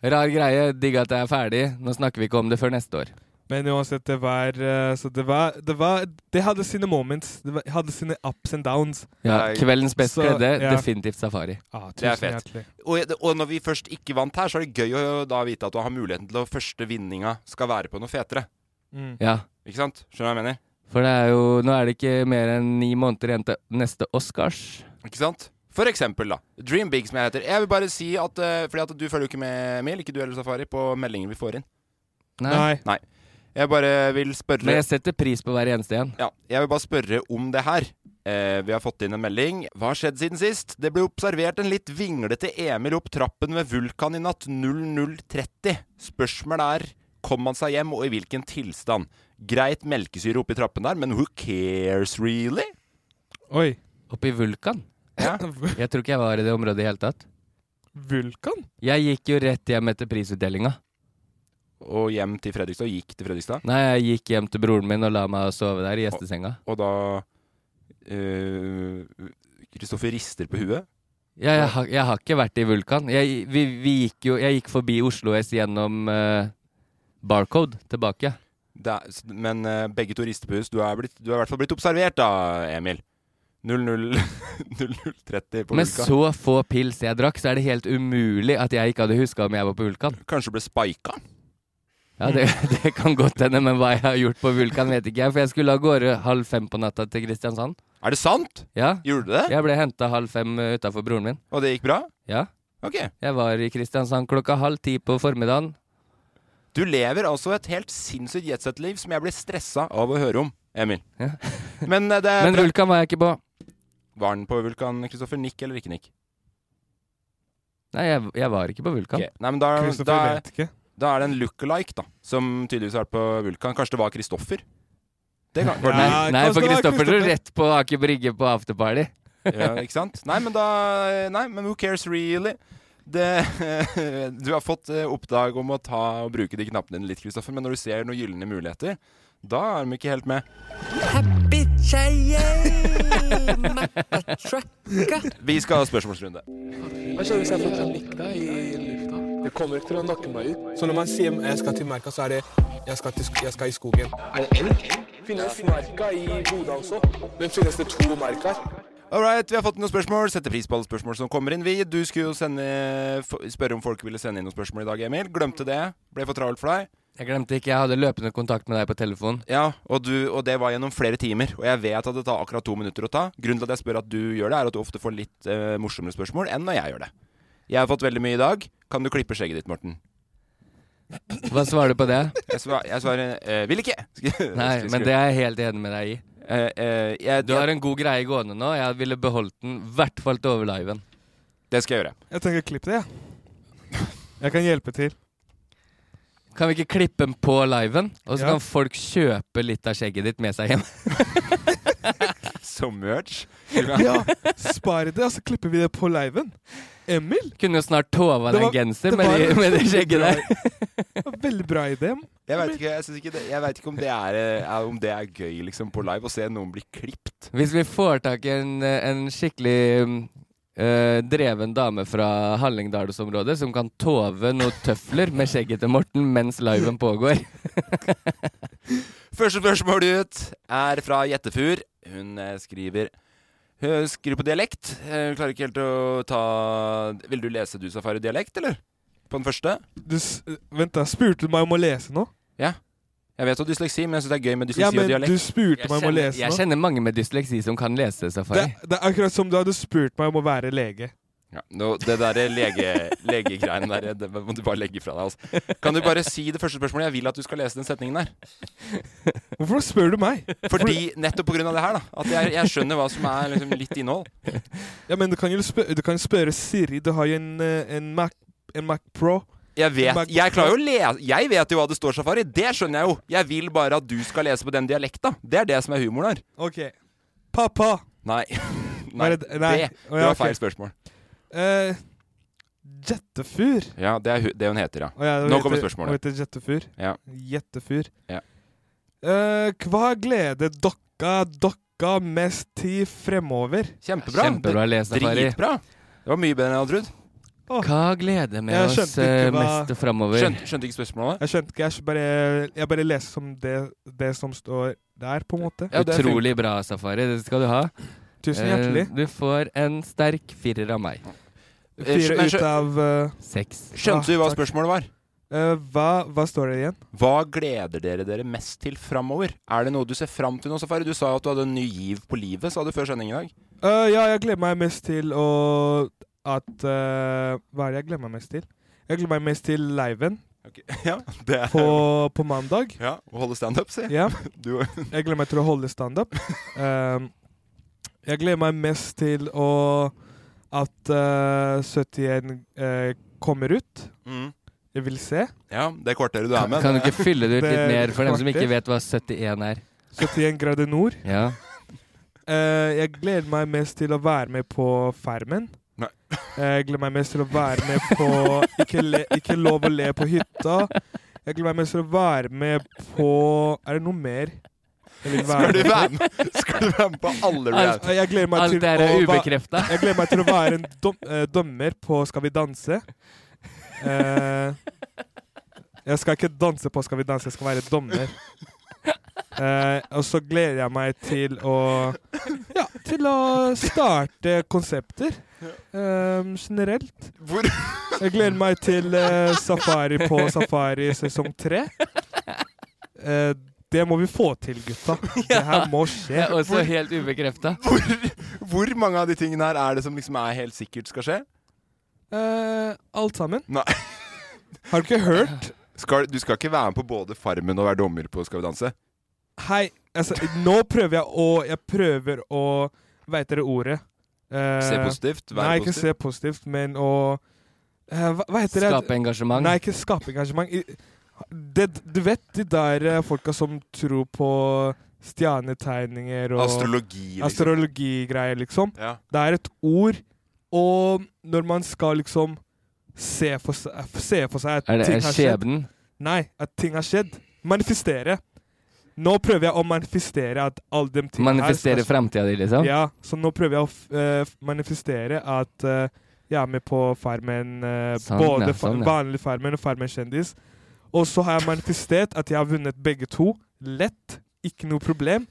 A: rar greie. Digg at jeg er ferdig. Nå snakker vi ikke om det før neste år.
C: Men uansett, det var eh, Så det var Det, var, det hadde sine moments. Det var, hadde sine ups and downs.
A: Ja,
B: Nei.
A: kveldens best
C: Så,
A: kledde,
C: ja.
A: definitivt safari.
C: Ah, tusen
B: Det er fett.
C: hjertelig.
B: Og, og når vi først ikke vant her, så er det gøy å da vite at du har muligheten til å første vinninga skal være på noe fetere.
C: Mm.
A: Ja.
B: Ikke sant? Skjønner du hva jeg mener?
A: For det er jo, nå er det ikke mer enn ni måneder igjen til neste Oscars.
B: Ikke sant? For eksempel, da. Dream Big, som jeg heter. Jeg vil bare si at eh, Fordi at du følger jo ikke med, Emil, ikke du eller Safari, på meldinger vi får inn.
C: Nei.
B: Jeg bare vil spørre
A: Men jeg setter pris på hver eneste en.
B: Ja, jeg vil bare spørre om det her. Eh, vi har fått inn en melding. Hva har skjedd siden sist? Det ble observert en litt vinglete Emil opp trappen ved Vulkan i natt 00.30. Spørsmålet er kom han seg hjem, og i hvilken tilstand? Greit melkesyre oppi trappen der, men who cares really?
C: Oi. *laughs*
A: Oppe i Vulkan. Jeg tror ikke jeg var i det området i hele tatt.
C: Vulkan?
A: Jeg gikk jo rett hjem etter prisutdelinga.
B: Og hjem til Fredrikstad, og gikk til Fredrikstad.
A: Nei, jeg gikk hjem til broren min og la meg sove der i gjestesenga.
B: Og da eh, Kristoffer rister på huet.
A: Jeg, jeg, har, jeg har ikke vært i Vulkan. Jeg, vi, vi gikk jo, jeg gikk forbi Oslo S gjennom eh, Barcode tilbake.
B: Det er, s- men eh, begge to rister på hus. Du er, blitt, du er i hvert fall blitt observert da, Emil. *laughs* 00 00.30 på
A: Med
B: Vulkan.
A: så få pils jeg drakk, så er det helt umulig at jeg ikke hadde huska om jeg var på Vulkan.
B: Kanskje ble spika?
A: Ja, det, *laughs*
B: Mm.
A: det kan godt hende, men hva jeg har gjort på Vulkan, vet ikke jeg. For jeg skulle av gårde halv fem på natta til Kristiansand.
B: Er det sant?
A: Ja.
B: Gjorde du det?
A: Jeg ble henta halv fem utafor broren min.
B: Og det gikk bra?
A: Ja.
B: Ok.
A: Jeg var i Kristiansand klokka halv ti på formiddagen.
B: Du lever altså et helt sinnssykt jetset-liv som jeg blir stressa av å høre om, Emil.
A: Ja.
B: men eh, det er
A: Men
B: bra.
A: Vulkan var jeg ikke på.
B: Var den på Vulkan, Kristoffer? Nikk eller ikke nikk?
A: Nei, jeg, jeg var ikke på Vulkan.
B: Ok. Nei, men da, da,
C: Kristoffer vet ikke.
B: da er det en look-alike, da, som tydeligvis har vært på Vulkan. Kanskje det var Kristoffer? Det kan, var det
C: Ja.
B: det?
A: Nei, nei, for
C: Kosta var
A: Kristoffer dro
C: Kristoffer.
A: rett på Aker Brygge på afterparty.
B: Ja, ikke sant? Nei, men da Nei, men who cares really? Det, *laughs* du har fått eh, oppdrag om å ta og bruke de knappene dine litt, Kristoffer, men når du ser noen gylne muligheter, da er de ikke helt med. Vi skal ha spørsmålsrunde.
D: Så når man sier jeg skal til merka, så er det jeg skal, til, sk- jeg skal i skogen. Er det elg? finnes merka i Bodø også. Den finnes det to merk her.
B: All right, vi har fått noen spørsmål. Setter pris på alle spørsmål som kommer inn. Vi, du skulle jo sende, f spørre om folk ville sende inn noen spørsmål i dag, Emil. Glemte det. Ble for travelt for deg.
A: Jeg glemte ikke, jeg hadde løpende kontakt med deg på telefon.
B: Ja, og, du, og det var gjennom flere timer. Og jeg vet at det tar akkurat to minutter å ta. Grunnen til at jeg spør at du gjør det, er at du ofte får litt eh, morsommere spørsmål enn når jeg gjør det. Jeg har fått veldig mye i dag. Kan du klippe skjegget ditt, Morten?
A: Hva svarer du på
C: *laughs*
A: det?
B: Jeg svarer, jeg svarer eh, vil ikke. *laughs*
A: Nei, men det er jeg helt enig med deg i.
B: Eh, eh, jeg,
A: Du har en god greie gående nå. Jeg ville beholdt den, i hvert fall til over liven.
B: Det skal jeg gjøre.
C: Jeg tenker klipp det, jeg. Jeg kan hjelpe til.
A: Kan vi ikke klippe den på liven, og så
C: Ja.
A: kan folk kjøpe litt av skjegget ditt med seg hjem? *laughs*
B: Som merch. *laughs*
C: Ja, Spar det, og så klipper vi det på liven. Emil,
A: Kunne jo snart tova deg
C: Det var-
A: en genser
C: det
A: med,
C: var-
A: de, med det skjegget der.
C: veldig bra idé.
B: Jeg veit ikke, jeg synes ikke, det, jeg vet ikke om, det er, eh, om det er gøy liksom, på live å se noen bli klipt.
A: Hvis vi får tak i en, en skikkelig mm, eh, dreven dame fra Hallingdalsområdet som kan tove noen tøfler med skjegget til Morten mens liven pågår.
B: Første spørsmål ut er fra Jettefur. Hun eh, skriver Hun skriver på dialekt. Eh, Hun klarer ikke helt å ta Vil du lese du, Safari, dialekt, eller? På den første?
C: Du, s- vent, da. Spurte du meg om å lese nå?
B: Jeg vet hva dysleksi, men jeg syns det er gøy med dysleksi
C: Ja, men
B: og
C: du
B: dialekt.
C: spurte meg om å lese
A: *laughs* jeg
C: nå.
A: kjenner mange med dysleksi som kan lese
C: Det,
A: Safari.
C: det er akkurat som du hadde spurt meg om å være lege.
B: Ja, nå, det derre lege, legegreiene der, det må du bare legge fra deg. Altså. Kan du bare si det første spørsmålet? Jeg vil at du skal lese den setningen der.
C: Hvorfor spør du meg?
B: Fordi, nettopp på grunn av det her, da. At jeg, jeg skjønner hva som er liksom, litt innhold.
C: Ja, men Du kan jo spø- du kan spørre Siri. Du har jo en, eh, en, Mac, en Mac Pro.
B: Jeg
C: Mac-
B: vet, jeg klarer jo å lese Jeg vet jo hva det står, Safari. Det skjønner jeg jo. Jeg vil bare at du skal lese på den dialekta. Det er det som er humoren her.
C: Ok. Pappa!
B: Nei. *laughs* Nei,
C: Hva er
B: det,
C: det- nei.
B: det
C: Å, ja,
B: var
C: ok.
B: feil spørsmål.
C: Eh, jettefyr.
B: Ja, det er hu- det hun heter, ja.
C: Å, ja,
B: Nå kommer spørsmålet.
C: Hun heter Jettefyr.
B: Ja.
C: Jettefyr.
B: Ja.
C: Eh, hva gleder dokka dokka mest til fremover?
B: Kjempebra.
A: Kjempebra lest, Safari.
B: Dritbra. Det var mye bedre enn jeg hadde trodd.
A: Hva gleder med
C: Jeg
A: oss
C: skjønte ikke
A: eh,
C: hva-
A: mest framover?
B: Skjønte, skjønte ikke spørsmålet.
C: Jeg skjønte ikke. Jeg skj- bare, jeg bare leser som det, det som står der, på en måte.
B: Ja, det er fint.
A: Utrolig bra, Safari. Det skal du ha.
C: Tusen
A: Eh,
C: hjertelig.
A: Du får en sterk firer av meg.
B: Eh, skjø-
C: Fire
B: men
C: ut
B: skjø-
C: av eh,
A: Seks.
C: Ah,
B: Skjønte du hva
C: takk.
B: spørsmålet var?
C: eh, hva, hva står det igjen?
B: Hva gleder dere dere mest til framover? Er det noe du ser fram til nå, Safari? Du sa jo at du hadde en ny giv på livet, sa du før sending i dag.
C: Eh, ja, jeg gleder meg mest til å at eh, Hva er det jeg gleder meg mest til? Jeg gleder meg mest til liven
B: Ja, det er
C: på, på mandag.
B: Ja, å holde standup, si.
C: Ja.
B: Du
C: Jeg gleder meg til å holde
B: *laughs*
C: standup. Um, jeg gleder meg mest til å at eh, 71 eh, kommer ut.
B: mm.
C: Jeg vil se.
B: Ja, det kvarteret du er
A: Kan,
B: med.
A: kan du ikke fylle det ut
C: Det
A: litt
C: er
A: mer for dem som ikke
C: kvarter.
A: vet hva 71 er?
C: 71 grader nord.
A: Ja.
C: Eh, jeg gleder meg mest til å være med på Farmen.
B: Nei.
C: Eh, jeg gleder meg mest til å være med på ikke, le, ikke lov å le på hytta. Jeg gleder meg mest til å være med på Er det noe mer? Jeg, vil
B: Skal
C: være
B: du
C: med.
B: være med, skal du være med på alle
A: Alt-
B: reality?
C: Eh, jeg gleder meg
A: Alt
C: til
A: det her er
C: å va-
A: ubekrefta.
C: Jeg gleder meg til å være en dom, eh, dommer på Skal vi danse. Eh, jeg skal ikke danse på Skal vi danse, jeg skal være dommer. Eh, og så gleder jeg meg til å Ja, til å starte konsepter. eh, generelt.
B: Hvor,
C: Jeg gleder meg til eh, Safari på Safari sesong tre. Eh, det må vi få til, gutta. Det her må
A: Det
C: skje.
A: er også helt ubekrefta.
B: hvor, hvor mange av de tingene her er det som liksom er helt sikkert skal skje?
C: Eh, alt sammen.
B: Nei.
C: Har du ikke hørt?
B: Skal, du skal ikke være med på både Farmen og være dommer på Skal vi danse?
C: Hei, altså, nå prøver jeg å Jeg prøver å Veit dere ordet? Eh,
B: Se positivt,
C: Nei,
B: være
C: ikke
B: positiv.
C: se positivt, men å eh, hva, hva heter det?
A: Skape engasjement.
C: Nei, ikke skape engasjement. I- Det, du vet de der eh, folka som tror på stjernetegninger og
B: Astrologi, liksom.
C: astrologigreier, liksom.
B: Ja.
C: Det er et ord, og når man skal liksom se for seg, se for seg at
A: Er det
C: ting
A: er
C: har skjedd
A: skjebnen?
C: Nei, at ting har skjedd. Manifestere. Nå prøver jeg å manifestere at alle de tingene
A: Manifestere
C: her
A: framtida di,
C: skal
A: liksom?
C: Ja, så nå prøver jeg å f- eh, f- manifestere at eh, jeg er med på Farmen. eh,
A: Sånn,
C: både
A: ja,
C: fa-
A: sånn, ja.
C: vanlig Farmen og Farmen kjendis. Og så har jeg manifestert at jeg har vunnet begge to. Lett. ikke noe problem.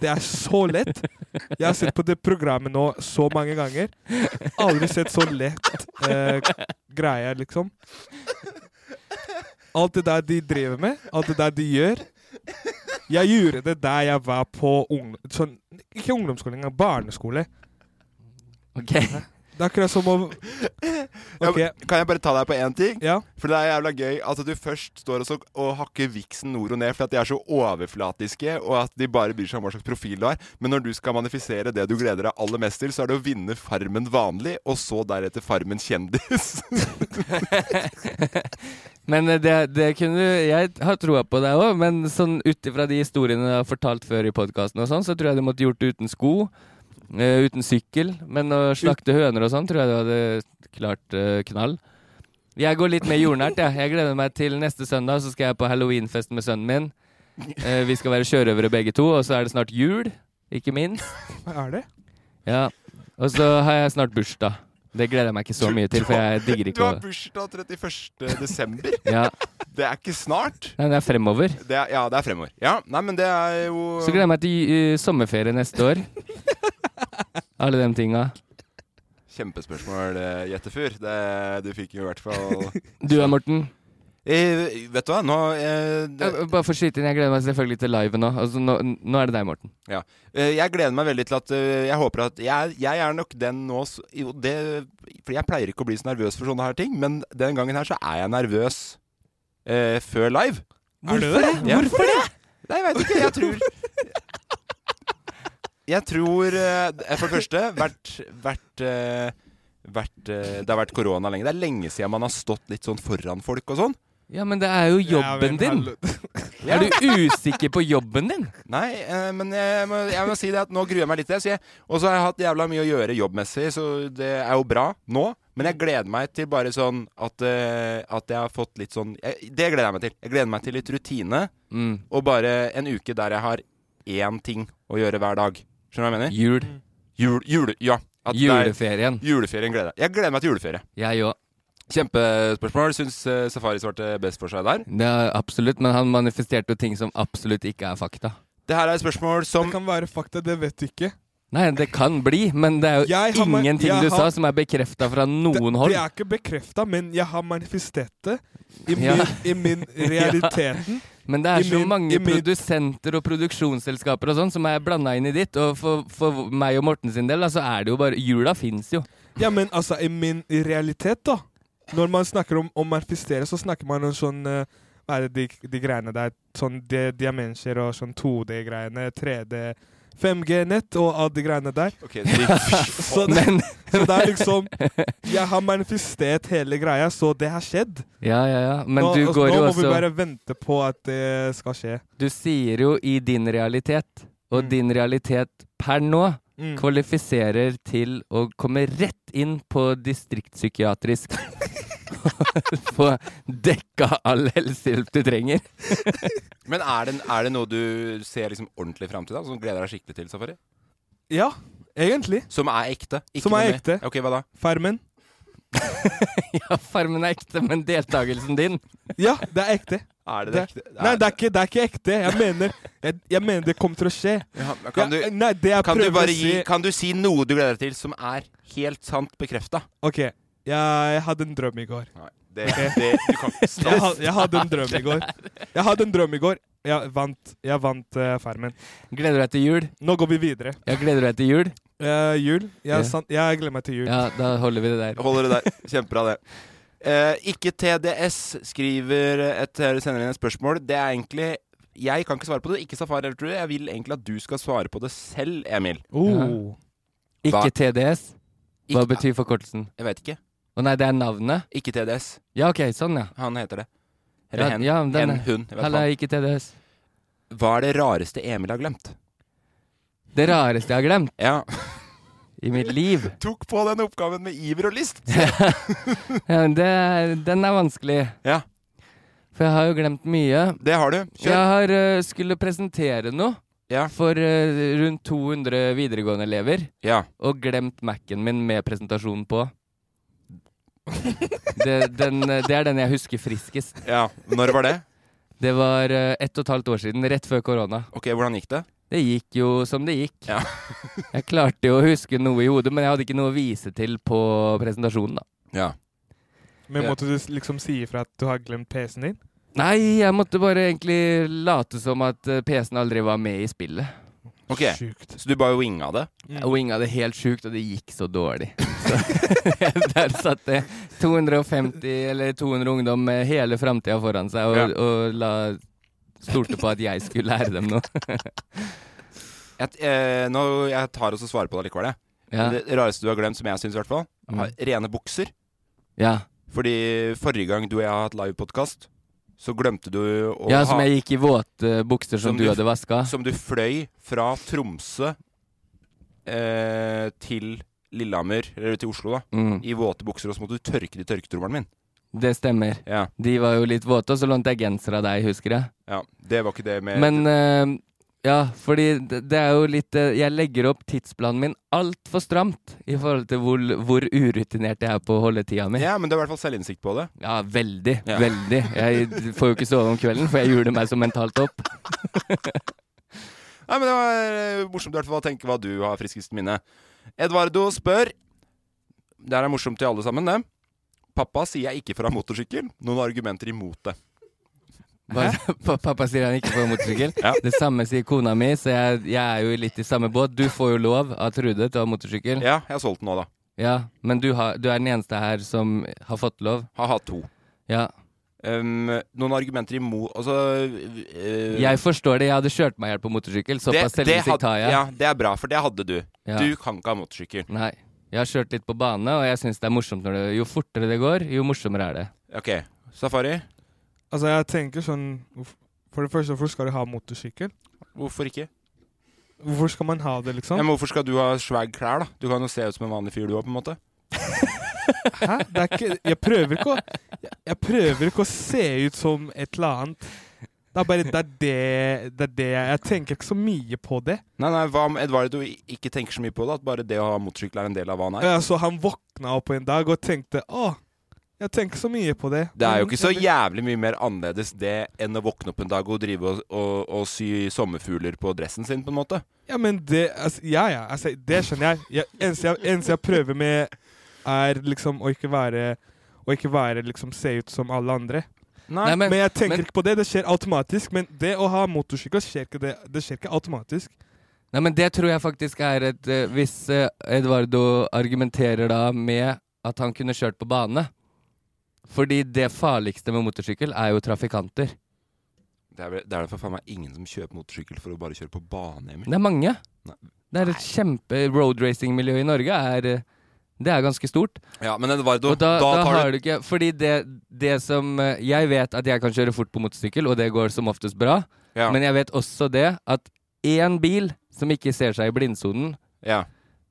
C: Det er så lett. Jeg har sett på det programmet nå så mange ganger. Aldri sett så lett eh, greie, liksom. Alt det der de driver med, alt det der de gjør. Jeg gjorde det der jeg var på ung, sånn, Ikke ungdomsskole engang, barneskole.
A: Ok. *laughs*
C: Det er akkurat som å
B: Ja,
C: Ok,
B: men Kan jeg bare ta deg på én ting?
C: ja.
B: For det er jævla gøy at du først står og, så, og hakker viksen nord og ned fordi at de er så overflatiske, og at de bare bryr seg om hva slags profil du har. Men når du skal manifisere det du gleder deg aller mest til, så er det å vinne Farmen vanlig, og så deretter Farmen kjendis.
A: Men eh, det, det kunne du Jeg har troa på deg òg, men sånn ut ifra de historiene du har fortalt før i podkasten og sånn, så tror jeg du måtte gjort det uten sko. eh, uten sykkel. Men å slakte høner og sånn tror jeg du hadde klart eh, knall. Jeg går litt mer jordnært, jeg. Jeg gleder meg til neste søndag, så skal jeg på halloweenfest med sønnen min. Eh, vi skal være sjørøvere begge to, og så er det snart jul, ikke minst.
C: Hva er det?
A: Ja. Og så har jeg snart bursdag. Det gleder jeg meg ikke så mye til, for jeg digger
B: Du
A: ikke å
B: har bursdag 31. desember.
A: ja.
B: Det er ikke snart.
A: Nei, men det er fremover.
B: Det er, ja, det er fremover. Ja, nei, men det er jo
A: Så gleder jeg meg til eh, sommerferie neste år. Alle de tinga.
B: Kjempespørsmål, eh, Jettefyr. Det- Du fikk jo i hvert fall
A: Du da, Morten?
B: eh, Vet du hva, nå eh, det,
A: Jeg- Bare for å skyte inn, jeg gleder meg selvfølgelig til liven òg. Altså, nå, nå er det deg, Morten.
B: Ja. Eh, Jeg gleder meg veldig til at eh, Jeg håper at Jeg, jeg er nok den nå s- jo, det, For jeg pleier ikke å bli så nervøs for sånne her ting, men den gangen her så er jeg nervøs eh, før live.
C: Er det det?
B: Ja. Hvorfor det? Nei, jeg veit ikke. Jeg tror Jeg tror eh, For det første vært, vært, eh, vært, eh, Det har vært korona lenge. Det er lenge siden man har stått litt sånn foran folk og sånn.
A: Ja, men det er jo jobben din! Er du usikker på jobben din?
B: Nei, eh, men jeg må, jeg må si det at nå gruer jeg meg litt til det. så jeg- Og så har jeg hatt jævla mye å gjøre jobbmessig, så det er jo bra nå. Men jeg gleder meg til bare sånn at, eh, at jeg har fått litt sånn jeg, Det gleder jeg meg til. Jeg gleder meg til litt rutine
A: Mm.
B: og bare en uke der jeg har én ting å gjøre hver dag. Skjønner du hva jeg mener?
A: Jul.
B: Jul, jule, ja. At det er-
A: Juleferien.
B: Juleferien gleder jeg Jeg gleder meg til juleferie.
A: Jeg òg.
B: Kjempespørsmål. Syns eh, Safari svarte best for seg der.
A: Det er absolutt, men han manifesterte jo ting som absolutt ikke er fakta.
B: Det her er et spørsmål som
C: Det kan være fakta, det vet du ikke.
A: Nei, det kan bli, men det er
C: Jeg
A: jo
C: har ma-
A: ingenting
C: jeg
A: du sa
C: har-
A: som er bekrefta fra
C: Det,
A: noen hold.
C: det er ikke bekrefta, men jeg har manifestert det i min,
A: *laughs* Ja.
C: i min realiteten.
A: Men det er
C: I
A: så
C: min-
A: mange
C: i min-
A: produsenter og produksjonsselskaper og sånn som er blanda inn i ditt, og for, for meg og Morten sin del, da, så er det jo bare Jula fins jo. *laughs*
C: Ja, men altså, i min realitet, da. Når man snakker om å manifestere, så snakker man om sånn eh, Hva er det de, de greiene der? Sånn de, diamenser og sånn 2D-greiene, 3D 5G-nett og alle de greiene der.
B: Ok, så-
C: Så det,
A: Men
C: så det er
A: *laughs*
C: liksom Jeg har manifestert hele greia, så det har skjedd.
A: Ja, ja, ja. Men
C: nå,
A: du
C: altså,
A: går
C: nå
A: jo
C: må vi
A: også
C: bare vente på at det skal skje.
A: Du sier jo i din realitet, og
C: Mm.
A: din realitet per nå
C: Mm.
A: kvalifiserer til å komme rett inn på distriktspsykiatrisk. *laughs* Få dekka all helsehjelp du trenger.
B: Men er det, er det noe du ser liksom ordentlig fram til, da? Som du gleder deg skikkelig til, Safari?
C: Ja, egentlig.
B: Som er ekte? Ikke
C: Som er
B: noe mer.
C: ekte.
B: Ok, hva da?
C: Farmen.
A: Ja, farmen er ekte, men deltakelsen din
C: Ja, det er ekte.
B: *laughs* Er det,
C: Det-
B: ekte?
C: Nei, det er ikke, det er ikke ekte. Jeg mener, jeg, jeg mener det kommer til å skje.
B: Ja, men kan,
C: Ja,
B: du,
C: nei, det jeg
B: kan, du
C: prøver
B: bare
C: å si
B: gi, kan du si noe du gleder deg til som er helt sant bekrefta?
C: OK, jeg, jeg hadde en drøm i går.
B: Det,
C: Ok.
B: det, du kan ikke
C: Jeg,
B: snakke
C: ha- jeg hadde en drøm i
B: *laughs*
C: går. Jeg hadde en drøm i går. Jeg vant, jeg vant eh, Farmen.
A: Gleder du deg til jul?
C: Nå går vi videre.
A: Ja, gleder du deg til jul?
C: Eh, jul. Jeg,
A: Ja.
C: san- jeg gleder meg til jul.
A: Ja, da holder vi det der.
B: Holder det der. Kjempebra, det. Eh, ikke TDS skriver et, sender inn et spørsmål. Det er egentlig Jeg kan ikke svare på det, ikke Safari eller Trude. Jeg vil egentlig at du skal svare på det selv, Emil.
C: Oh.
A: Ikke
B: Hva-
A: TDS. Hva
B: Ikke-
A: betyr forkortelsen?
B: Jeg vet ikke.
A: Å nei, det er navnet?
B: Ikke TDS.
A: Ja, ok, sånn ja.
B: Han heter det.
A: Ja,
B: Eller hen.
A: ja, men den
B: hen,
A: er-
B: hun. Jeg vet
A: Halla,
B: faen.
A: ikke TDS.
B: Hva er det rareste Emil har glemt?
A: Det rareste jeg har glemt
B: Ja.
A: i mitt liv.
B: *laughs* Tok på den oppgaven med iver og lyst.
A: Ja, men det, er- den er vanskelig.
B: Ja.
A: For jeg har jo glemt mye.
B: Det har du.
A: Jeg
B: Kjør.
A: har, eh, skulle presentere noe
B: Ja.
A: for eh, rundt 200 videregående elever,
B: Ja.
A: og glemt Mac-en min med presentasjonen på.
B: *laughs*
A: Det, den, eh, det er den jeg husker friskest.
B: ja. Når var det?
A: Det var eh, ett og et halvt år siden, rett før korona.
B: Ok, hvordan gikk det?
A: Det gikk jo som det gikk.
B: Ja.
A: jeg klarte jo å huske noe i hodet, men jeg hadde ikke noe å vise til på presentasjonen, da.
B: Ja.
C: Men måtte du s- liksom si ifra at du har glemt PC-en din?
A: Nei, jeg måtte bare egentlig late som at eh, PC-en aldri var med i spillet.
B: Ok,
C: Sjukt.
B: så du bare winga det?
C: Mm.
A: Jeg winga det helt sjukt, og det gikk så dårlig. Så *laughs* der satt det 250 eller 200 ungdom med hele framtida foran seg og, og la Stolte på at jeg skulle lære dem noe.
B: Jeg, eh, nå, jeg tar også svaret på det likevel, jeg.
A: Ja. Mm.
B: Det rareste du har glemt, som jeg syns i hvert fall, er rene bukser.
A: ja.
B: Fordi forrige gang du og jeg har hatt livepodkast, så glemte du å
A: ja, som
B: ha
A: jeg gikk i våte bukser som,
B: Som
A: du
B: du-
A: hadde vaska.
B: Som du fløy fra Tromsø eh, til Lillehammer, eller til Oslo, da,
A: Mm.
B: i våte bukser, og så måtte du tørke de tørketrommelen min.
A: Det stemmer.
B: Ja,
A: De var jo litt våte, og så lånte jeg genser av deg, husker jeg.
B: ja. Det var ikke det med
A: Men eh, ja, fordi det, det er jo litt eh, Jeg legger opp tidsplanen min altfor stramt i forhold til hvor, hvor urutinert jeg er på å holde tida mi.
B: Ja, men du har i hvert fall selvinnsikt på det.
A: Ja, veldig.
B: Ja.
A: Veldig. Jeg får jo ikke sove om kvelden, for jeg juler meg så mentalt opp.
B: Nei, men Det var eh, morsomt i hvert fall å tenke hva du har friskest minne. Edvardo spør Det her er morsomt til alle sammen, det. Pappa sier jeg ikke får ha motorsykkel. Noen argumenter imot det.
A: Bare, *laughs* pa- pappa sier han ikke får motorsykkel.
B: Ja.
A: Det samme sier kona mi, så jeg, jeg er jo litt i samme båt. Du får jo lov av Trude til å ha motorsykkel.
B: Ja, jeg har solgt den nå, da.
A: Ja, men du, har, du er den eneste her som har fått lov.
B: Har hatt to.
A: Ja.
B: Um, noen argumenter imot Altså eh,
A: Jeg forstår det. Jeg hadde kjørt meg i hjel på motorsykkel. Såpass
B: had-
A: selvinnsikt har jeg.
B: Ja, det er bra, for det hadde du.
A: Ja.
B: Du kan ikke ha motorsykkel.
A: Nei. Jeg har kjørt litt på bane, og jeg syns det er morsomt når det Jo fortere det går, jo morsommere er det.
B: OK. Safari,
C: Altså, jeg tenker sånn hvorf- For det første, hvorfor skal du ha motorsykkel?
B: hvorfor ikke?
C: Hvorfor skal man ha det,
B: Ja,
A: Sånn.
C: liksom?
B: men hvorfor skal du ha swag klær, da? Du kan jo se ut som en vanlig fyr, du òg, på en måte.
C: Hæ? Det er ikke, jeg, prøver ikke å, jeg, jeg prøver ikke å se ut som et eller annet. Det er bare det, er det, det, er det jeg, jeg tenker ikke så mye på det.
B: Nei, nei, hva om Edvardo ikke tenker så mye på det? At bare det å ha motorsykkel er en del av hva han er?
C: Ja, Så han våkna opp en dag og tenkte Å, jeg tenker så mye på det.
B: Det er jo ikke så
C: Mm,
B: jævlig mye mer annerledes det enn å våkne opp en dag og drive og, og, og sy sommerfugler på dressen sin, på en måte.
C: Ja, men det altså, Ja, ja. Altså, det skjønner jeg. jeg eneste, jeg eneste jeg prøver med, er liksom å ikke være å ikke være liksom se ut som alle andre.
A: Nei, men,
C: Men, jeg tenker
A: men-
C: ikke på det. Det skjer automatisk. Men det å ha motorsykkel skjer ikke, det, det skjer ikke automatisk.
A: Nei, men det tror jeg faktisk er et eh, Hvis eh, Eduardo argumenterer da med at han kunne kjørt på bane Fordi det farligste med motorsykkel er jo trafikanter.
B: Det er, vel- det er vel for faen meg ingen som kjøper motorsykkel for å bare kjøre på bane, Emil.
A: Det er mange.
B: Nei.
A: Det er et kjempe Road racing-miljø i Norge er eh, Det er ganske stort.
B: Ja, men Edvardo,
A: Og da, da,
B: tar
A: har
B: du
A: du ikke Fordi det, det som eh, Jeg vet at jeg kan kjøre fort på motorsykkel, og det går som oftest bra.
B: Ja.
A: Men jeg vet også det at én bil som ikke ser seg i blindsonen
B: ja.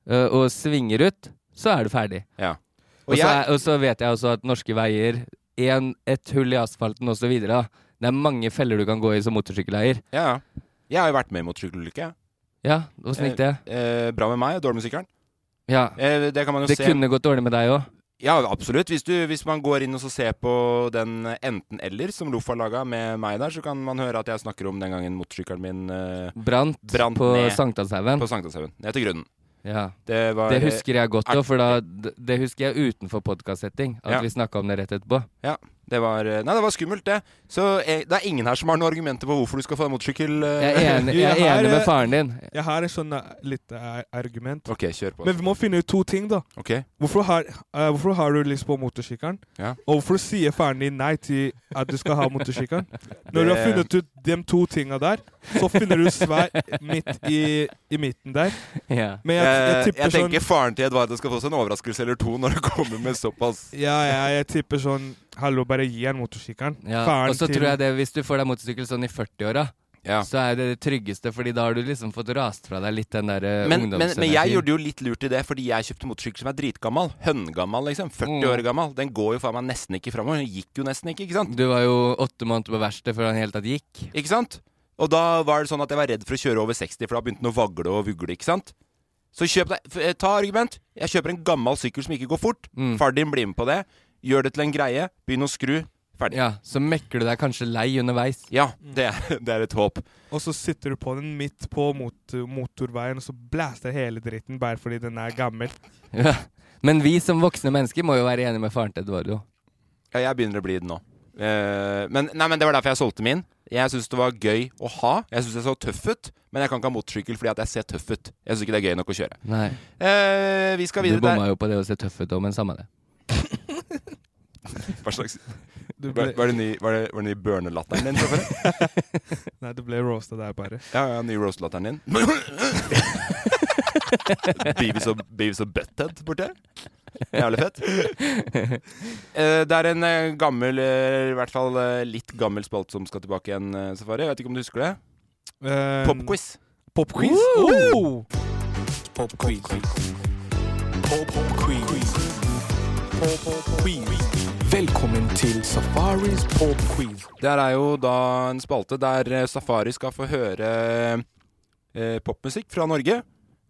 A: eh, og svinger ut, så er du ferdig.
B: Ja.
A: Og, så
B: jeg-
A: er, og så vet jeg også at norske veier, en, et hull i asfalten osv. Det er mange feller du kan gå i som motorsykkeleier.
B: ja, ja. Jeg har jo vært med i motorsykkelulykke. jeg.
A: Ja, åssen gikk det?
B: Eh, bra med meg, dårlig med sykkelen.
A: Ja.
B: Eh, det kan man jo
A: Det
B: se.
A: kunne gått dårlig med deg òg.
B: Ja, absolutt. Hvis, du, hvis man går inn og så ser på den enten-eller som Loff har laga med meg der, så kan man høre at jeg snakker om den gangen motorsykkelen min eh,
A: Brant,
B: Brant
A: på
B: ned.
A: Sankthanshaugen.
B: på Sankthanshaugen. Ned til grunnen.
A: Ja.
B: Det var
A: Det husker jeg godt
B: eh, er-
A: òg, for da, d- det husker jeg utenfor podkastsetting. At
B: Ja.
A: vi snakka om det rett etterpå.
B: Ja, det var eh, Nei, det var skummelt, det. Så eh, det er ingen her som har noen argumenter på hvorfor du skal få deg motorsykkel. eh.
A: Jeg er enig,
C: Jo,
A: jeg
C: jeg
A: er
C: har,
A: enig med
C: eh,
A: faren din.
C: Jeg har et sånn eh, lite eh, argument.
B: OK, kjør på.
C: Men vi må finne ut to ting, da.
B: OK.
C: Hvorfor har, eh, hvorfor har du lyst på motorsykkelen?
B: Ja.
C: Og hvorfor sier faren din nei til at du skal ha
A: *laughs*
C: motorsykkelen? Når du har funnet ut de to tinga der, så finner du svar midt i, i midten der.
A: Ja.
C: Men jeg, jeg
A: Eh,
B: Jeg,
C: tipper
B: Eh, jeg
C: sånn
B: tenker faren til Edvardo skal få seg en overraskelse eller to når han kommer med såpass
C: Ja, ja, jeg tipper sånn Hallo, bare gi han motorsykkelen.
A: Ja. Og så tror jeg det, hvis du får deg motorsykkel sånn i 40-åra,
B: Ja.
A: så er det det tryggeste, Fordi da har du liksom fått rast fra deg litt den der eh,
B: Men, men, men jeg
A: ungdomsenergien.
B: gjorde jo litt lurt i det, fordi jeg kjøpte motorsykkel som er dritgammal. Høngammal, liksom.
A: Mm.
B: 40 år gammel. Den går jo faen meg nesten ikke framover. Den gikk jo nesten ikke, ikke sant?
A: Du var jo åtte måneder på verkstedet før han i hele tatt gikk.
B: Ikke sant? Og da var det sånn at jeg var redd for å kjøre over 60, for da begynte den å vagle og vugle, ikke sant? Så kjøp deg, f- eh, ta argument.
A: Mm.
B: Jeg kjøper en gammel sykkel som ikke går fort. Far din blir med på det. Gjør det til en greie. Begynn å skru. Ferdig.
A: Ja, så mekker du deg kanskje lei underveis. *laughs*
B: Ja, det, er- *laughs* det er et håp.
C: Og så sitter du på den midt på mot motorveien, og så blaster hele dritten bare fordi den er gammel.
A: Ja. Men vi som voksne mennesker må jo være enige med faren til Eduardo.
B: Ja, jeg begynner å bli det nå. Eh, men, nei, men det var derfor jeg solgte min. Jeg syns det var gøy å ha. Jeg syns jeg så tøff ut, men jeg kan ikke ha motorsykkel fordi at jeg ser tøff ut. Jeg syns ikke det er gøy nok å kjøre.
A: Nei.
B: Eh, vi skal
A: Du
B: videre
A: bomma
B: der.
A: jo på det å se tøff ut òg, men samme det.
B: Hva slags
C: Du
B: Var,
C: ble,
B: var det ny, var det, var det ny børnelatteren din? Kristoffer?
C: nei, du ble roasta der, bare.
B: Ja, ja, ny roast-latteren din. *laughs* Beavis og, Beavis og Butthead borti her. Jævlig fett. Eh, det er en eh, gammel, eh, i hvert fall eh, litt gammel spalt som skal tilbake igjen, eh, Safari. Jeg vet ikke om du husker det?
C: Eh,
B: Popquiz.
C: Popquiz?
B: Woo!
C: Oh!
D: Popquiz. Popquiz. Popquiz. Velkommen til Safaris popquiz.
B: Det her er jo da en spalte der eh, Safari skal få høre eh, popmusikk fra Norge.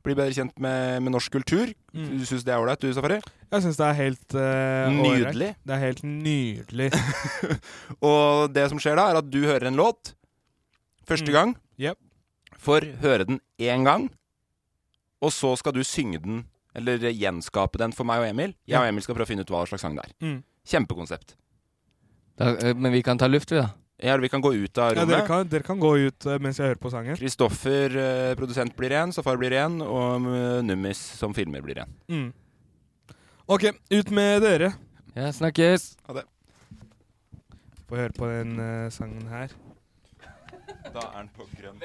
B: Bli bedre kjent med, med norsk kultur. Du syns det er ålreit, du, Safari?
C: Mm. Jeg syns det er helt eh, ålreit.
B: Nydelig.
C: Det er helt
B: *laughs*
C: nydelig.
B: Og det som skjer da, er at du hører en låt første
C: Mm.
B: gang.
C: Jep.
B: For høre den én gang, og så skal du synge den, eller gjenskape den for meg og Emil. Jeg og Emil skal prøve å finne ut hva slags sang det er.
C: Mm.
B: Kjempekonsept.
A: Da, eh, men vi kan ta luft, vi, da.
B: Ja, vi kan gå ut av
C: Ja, dere,
B: rommet.
C: kan, dere kan gå ut eh, mens jeg hører på sangen.
B: Kristoffer, eh, produsent, blir igjen. Safar blir igjen. Og eh, Nummis, som filmer, blir igjen.
C: Mm. OK, ut med dere.
A: Ja, snakkes!
C: Få høre på den eh, sangen her.
B: Da er han på grønn.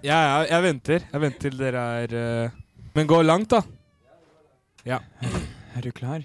C: Ja, ja, jeg venter. Jeg venter til dere er eh, Men gå langt, da. Ja.
E: Er du klar?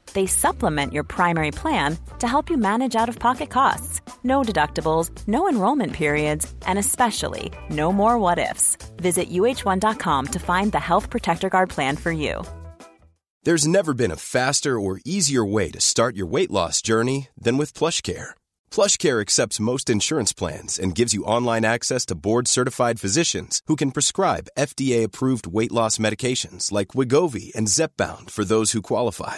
F: They supplement your primary plan to help you manage out of pocket costs. No deductibles, no enrollment periods, and especially no more what ifs. Visit uh1.com to find the Health Protector Guard plan for you.
G: There's never been a faster or easier way to start your weight loss journey than with PlushCare. PlushCare accepts most insurance plans and gives you online access to board-certified physicians who can prescribe FDA-approved weight loss medications like Wigovi and Zepbound for those who qualify.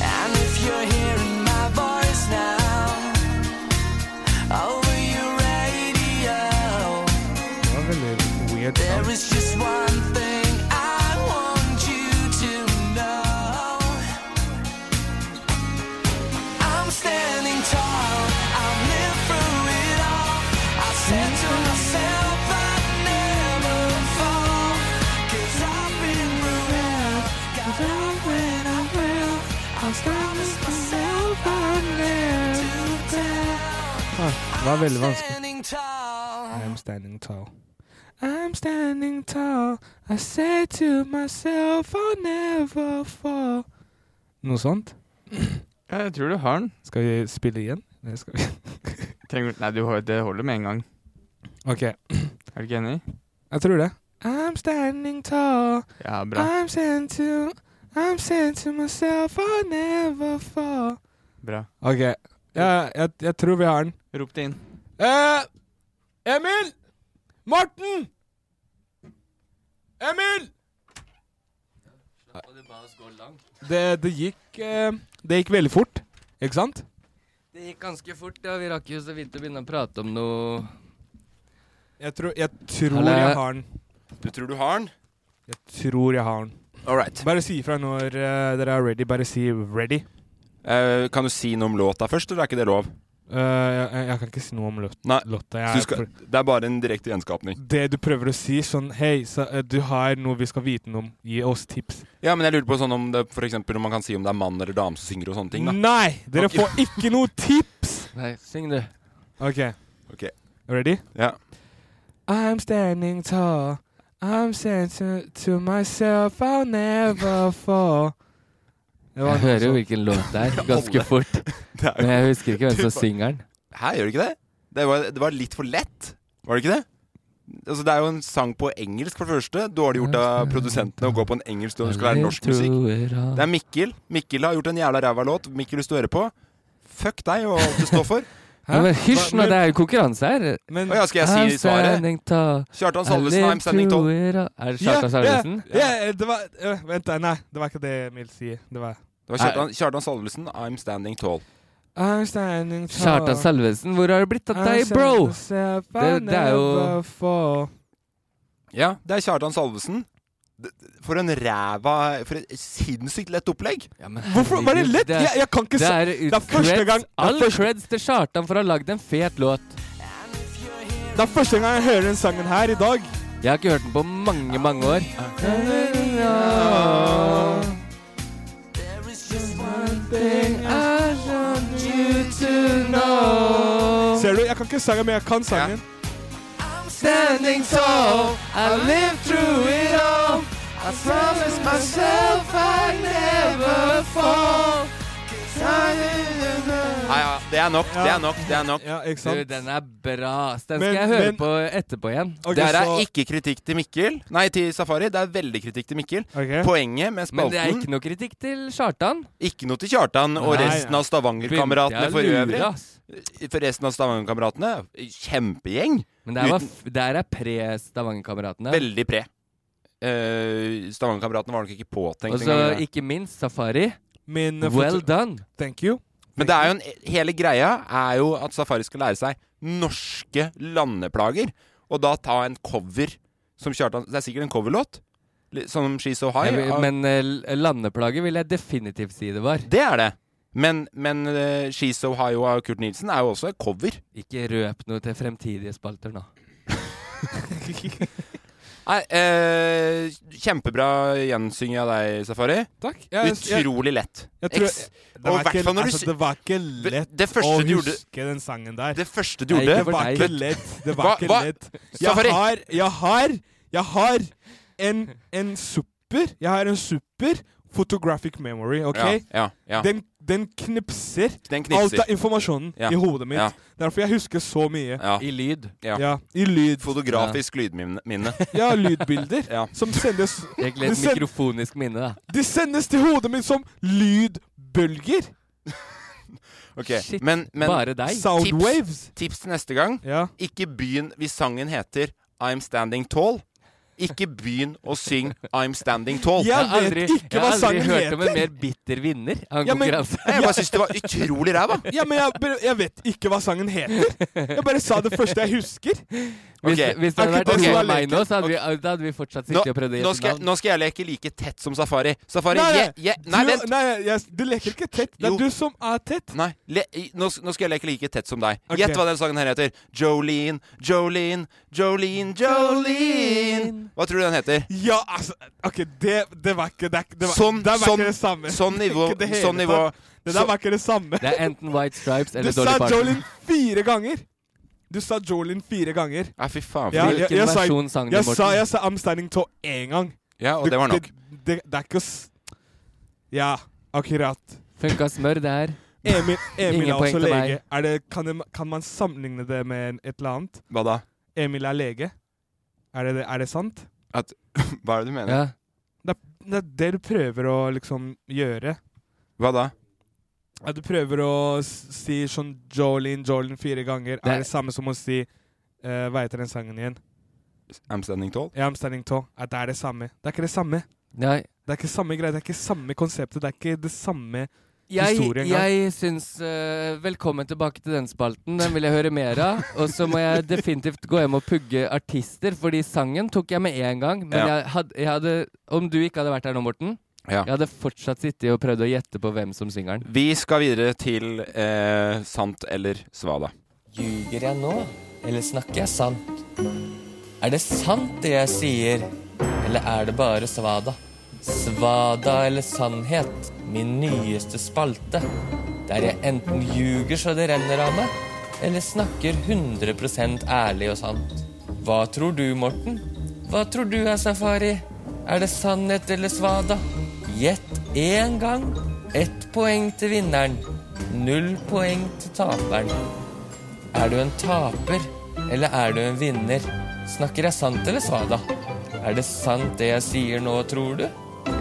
D: And if you're hearing my voice now over your radio,
C: Det var veldig weird. sang.
D: there is just one thing I want you to know. I'm standing tall, I've lived through it all. I said to myself, I'd never fall. Cause I've been around, got out when I will. I promised myself I'd never tell.
C: Ah, det var veldig vanskelig.
D: Standing tall.
C: I'm standing tall. I'm standing tall. I said to myself I'll never fall. Noe sånt.
E: Ja, jeg tror du har den.
C: Skal vi *laughs* spille igjen? Det skal vi.
E: Trenger, nei, du, har- det holder med en gang.
C: Ok. *clears throat*
E: Er du ikke enig?
C: Jeg tror det. I'm standing tall.
E: Ja, bra.
C: I'm saying to I'm saying to myself I never fall.
E: bra.
C: Ok. Jeg, jeg, jeg tror vi har den.
E: Rop det inn.
C: Eh, Emil! Morten! Emil! Det, det gikk eh, Det gikk veldig fort, ikke sant?
A: Det gikk ganske fort, ja. Vi rakk jo så vidt å begynne å prate om noe
C: Jeg tror jeg, tror
A: Eller-
C: jeg har den.
B: Du tror du har den?
C: Jeg tror jeg har den.
B: All right.
C: Bare si ifra når eh, dere er ready. Bare si 'ready'.
B: Eh, kan du si noe om låta først, eller er ikke det lov?
C: Eh, jeg, jeg- jeg kan ikke si noe om låt,
B: Nei.
C: låta.
B: Så
C: Jeg,
B: du
C: er
B: skal,
C: for-
B: det er bare en direkte gjenskapning.
C: det du prøver å si, sånn 'hei, så, eh, du har noe vi skal vite noe om, gi oss tips'.
B: Ja, men jeg lurer på sånn om det for eksempel, om man kan si om det er mann eller dame som synger og sånne ting. da
C: Nei! Dere
B: Ok.
C: får ikke
B: *laughs*
C: noe tips!
A: Nei, syng, du.
C: OK.
B: Ok.
C: Ready?
B: Mm. Ja. *laughs*
C: I'm standing tall. I'm saying to, to myself I'll
B: *laughs*
C: never fall. Det var altså-
A: Jeg
C: noe
A: hører jo
C: sånt.
A: hvilken låt det er, ganske fort.
B: Det er
A: Men
B: jo-
A: jeg husker ikke hvem som synger den.
B: Hæ, gjør du ikke det? Det var, det var litt for lett, var det ikke det? Altså, det er jo en sang på engelsk, for det første. Dårlig gjort av produsentene å gå på en engelsk når det skal være norsk musikk. Det er Mikkel. Mikkel har gjort en jævla ræva låt. Mikkel, hvis du hører på, fuck deg og alt du står for.
A: Ja, men hysj nå, det er jo konkurranse her.
C: Men
B: Å ja, skal jeg si svaret?
A: standing tall.
B: Kjartan Salvesen, I'm standing tall.
A: Er det
C: Ja,
A: Kjartan Salvesen?
C: Ja, ja, det var eh, Vent, da, nei. Det var ikke det Emil sier. Det var
B: Det var Kjartan, Kjartan Salvesen, I'm standing tall.
C: I'm standing tall.
A: Kjartan Salvesen, hvor har det blitt av deg, bro? Det- det er jo-
C: jo
B: Ja, det er Kjartan Salvesen. D- For en ræva For et sinnssykt lett opplegg.
C: Hvorfor var det lett? Jeg, jeg kan ikke
A: Det
C: sa-
A: er,
C: det er første gang det er
A: All
C: første-
A: creds til Kjartan for å ha lagd en fet låt.
C: Det er første gang jeg hører den sangen her i dag.
A: Jeg har ikke hørt den på mange, mange år.
C: Ser du? Jeg kan ikke sangen, men jeg kan sangen.
A: Standing tall, I live through it all. I promise myself I never fall.
B: Nei, ja, det er nok, det er nok, det er nok.
C: Ja, ikke
A: Du,
C: sant?
A: den er bra. ass. Den
C: Men-
A: skal jeg høre
C: men-
A: på etterpå igjen.
C: Ok,
B: Det her
C: så-
B: er ikke kritikk til Mikkel. Nei, til Safari. Det er veldig kritikk til Mikkel.
C: Ok.
B: Poenget med
A: Men det er
B: spalten
A: ikke noe kritikk til Kjartan.
B: Ikke noe til Kjartan og
C: Nei, nei.
B: resten av Stavanger-kameratene for øvrig. For resten av Stavanger-kameratene, kjempegjeng.
A: Men der, var,
B: Uten-
A: f- der er pre-Stavanger-kameratene.
B: Veldig pre. Eh, Stavanger-kameratene var nok ikke påtenkt
A: Og
C: Altså,
A: så
B: engang.
A: ikke minst Safari.
C: Min eh,
A: Well
C: foto-
A: done.
C: Thank you.
B: Men det er jo en, hele greia er jo at Safari skal lære seg norske landeplager, og da ta en cover som Kjartan Det er sikkert en coverlåt, li- som She's So High.
A: Jeg vil-
B: av-
A: Men eh, l- landeplaget vil jeg definitivt si det var.
B: det er det. Men, men eh, She's So High av Kurt Nilsen er jo også et cover.
A: Ikke røp noe til fremtidige spalter nå.
B: Nei, eh, kjempebra gjensyng av deg, Safari.
C: Takk. Jeg, jeg,
B: Utrolig lett.
C: jeg tror-
B: Eks-
C: det,
B: og
C: var
B: hvertfall
C: ikke,
B: når du
C: altså,
B: sy-
C: det var ikke lett
B: Det
C: å
B: første du gjorde
C: huske den sangen der.
B: Det første du
A: Nei,
B: gjorde
C: Det var
A: Nei.
C: ikke lett. Det var
B: Hva-
C: ikke
B: hva-
C: lett.
B: Safari.
C: Jeg har Jeg har, jeg har en, en super Jeg har en super photographic memory, OK?
B: Ja, ja, ja.
C: Den, den knipser,
B: Den
C: alt
B: knipser.
C: av informasjonen
B: Ja.
C: i hodet mitt.
B: Ja.
C: Derfor jeg husker så mye.
B: Ja.
A: I lyd.
B: Ja.
C: Ja, I lyd.
B: Fotografisk lydminne. minne.
C: Ja, lydbilder.
B: *laughs* Ja.
C: Som sendes
A: Egentlig
C: de,
A: et
C: sen,
A: mikrofonisk minne, da.
C: de sendes til hodet mitt som lydbølger.
B: Ok,
A: Shit,
B: Men, men
A: Bare deg.
C: Soundwaves.
B: tips til neste gang
C: Ja.
B: Ikke begynn hvis sangen heter I'm Standing Tall. Ikke begynn å synge I'm Standing Tall.
C: Jeg
A: Jeg har
C: vet
A: aldri,
C: ikke hva
A: jeg har aldri
C: sangen
A: hørt om en
C: heter.
A: mer bitter vinner av en
C: Ja, men-
A: konkurranse.
B: Jeg bare syns det var utrolig ræva.
C: Ja, men jeg, jeg vet ikke hva sangen heter. Jeg bare sa det første jeg husker.
A: Hvis,
B: Ok.
A: hvis det hadde vært
B: Ok.
A: okay.
B: Ok.
A: meg nå, så hadde vi, da hadde vi fortsatt
B: Nå,
A: sittet og prøvd å
B: nå,
A: gjette
B: skal, jeg-
A: navn.
B: nå skal jeg leke like tett som Safari. Safari,
C: Nei,
B: nei,
C: nei.
B: nei,
C: Du-
B: vent.
C: Nei, jeg, du leker ikke tett. Det
B: Jo.
C: er du som er tett.
B: Nei, le, i- nå, s- nå skal jeg leke like tett som deg.
C: Ok.
B: Gjett hva den sangen her heter. Jolene, Jolene, Jolene, Jolene. Hva tror du den heter?
C: Ja, altså OK, det, det var ikke Det, er ikke- det var,
B: Sånn,
C: det var
B: sånn,
C: ikke det samme.
B: sånn nivå.
C: Ikke det hele
B: sånn nivå.
C: tatt. Det der
B: så-
C: var ikke det samme.
A: Det er enten White Stripes
C: Du
A: eller
C: sa
A: Dolly Parton.
C: Jolene fire ganger. Du sa Jolene fire ganger.
B: Nei, fy faen.
C: Ja,
B: fordi-
C: jeg,
A: Hvilken
C: jeg, sa,
A: versjon sang du,
C: jeg, sa,
A: Morten?
C: jeg sa I'm Standing Tall én gang.
B: ja, og det var nok.
C: Det, det, det er ikke s... Ja, akkurat.
A: Funka smør, det her.
C: Emil, Emil
A: *laughs* Ingen
C: er også
A: poeng til
C: lege.
A: meg.
C: Er det, kan, det, kan man sammenligne det med en- et eller annet?
B: Hva da? *laughs*
C: Emil er lege. Er det, er det sant?
B: At, hva er det du mener?
C: Det, er, det er det du prøver å liksom gjøre.
B: Hva da?
C: At du prøver å s- si sånn Jolene, Jolene fire ganger,
B: Det-
C: er det samme som å si eh, Hva heter den sangen igjen?
B: I'm standing tall?
C: Ja, I'm standing tall. At det er det samme. Det er ikke det samme.
A: Nei.
C: Det er ikke samme greie, det er ikke samme konseptet, det er ikke det samme
A: Jeg,
C: historien.
A: jeg syns eh, Velkommen tilbake til den spalten. Den vil jeg høre mer av. Og så må jeg definitivt gå hjem og pugge artister, fordi sangen tok jeg med én gang. Men
B: Ja.
A: jeg, hadde, jeg hadde Om du ikke hadde vært her nå, Morten,
B: Ja.
A: jeg hadde fortsatt sittet og prøvd å gjette på hvem som synger den.
B: Vi skal videre til eh, sant eller svada.
H: Ljuger jeg nå, eller snakker jeg sant? Er det sant det jeg sier, eller er det bare svada? Svada eller sannhet, min nyeste spalte. Der jeg enten ljuger så det renner av meg, eller snakker 100 ærlig og sant. Hva tror du, Morten? Hva tror du er safari? Er det sannhet eller svada? Gjett én gang. Ett poeng til vinneren. Null poeng til taperen. Er du en taper, eller er du en vinner? Snakker jeg sant eller svada? Er det sant det jeg sier nå, tror du?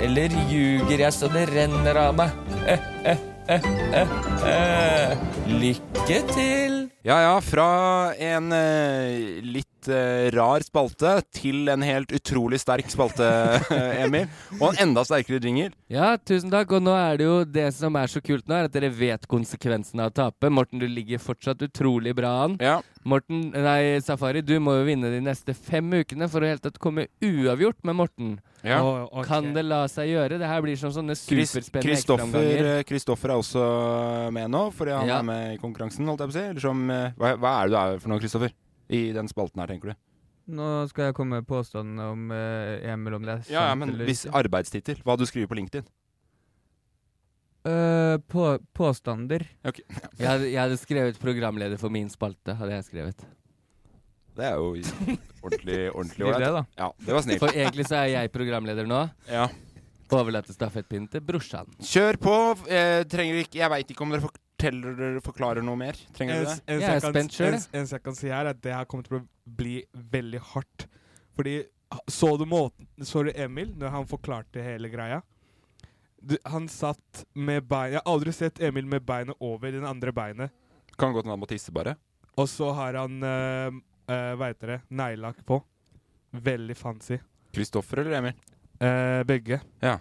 H: Eller ljuger jeg så det renner av meg? Eh, eh, eh, eh, eh. Lykke til!
B: Ja ja, fra en eh, litt eh, rar spalte til en helt utrolig sterk spalte, *laughs* Emil. Og en enda sterkere jingle.
A: Ja, tusen takk. Og nå er det jo det som er så kult nå, er at dere vet konsekvensene av å tape. Morten, du ligger fortsatt utrolig bra an. Morten, nei, Safari, du må jo vinne de neste fem ukene for å helt tatt komme uavgjort med Morten.
B: Ja. Å, ok.
A: Kan det la seg gjøre? Det her blir som sånne
B: Chris- eh,
A: superspennende ekstraomganger.
B: Kristoffer Kristoffer er også med nå, fordi han
A: Ja.
B: er med i konkurransen, holdt jeg på å si. Eller som eh, hva, hva er det du er for noe, Kristoffer? I den spalten her, tenker du?
E: Nå skal jeg komme med påstanden om eh, Emil, om det er sant
B: Ja, ja, men
E: eller
B: hvis
E: ikke.
B: arbeidstittel. Hva du skriver på LinkedIn.
E: Eh, på, påstander.
A: Jeg hadde, jeg hadde skrevet 'programleder for min spalte'. hadde jeg skrevet.
B: Det er jo
A: *laughs*
B: ordentlig ordentlig
A: Skriv det,
B: ålreit. Ja, det var snilt.
A: For egentlig så er jeg programleder nå.
B: Ja.
A: Overlater stafettpinnen til brorsan.
B: Kjør på. Eh, trenger ikke Jeg veit ikke om dere forteller dere forklarer noe mer. Trenger
C: En,
B: dere det?
C: en, jeg kan, en, en jeg kan si her, er at det her kommer til å bli veldig hardt. Fordi Så du måten Så du Emil når han forklarte hele greia? Du, han satt med bein Jeg har aldri sett Emil med beinet over den andre beinet.
B: Kan godt hende han må tisse, bare.
C: Og så har han uh, Hva heter det? Neglelakk på. Veldig fancy.
B: Kristoffer eller Emil?
C: begge.
B: Ja.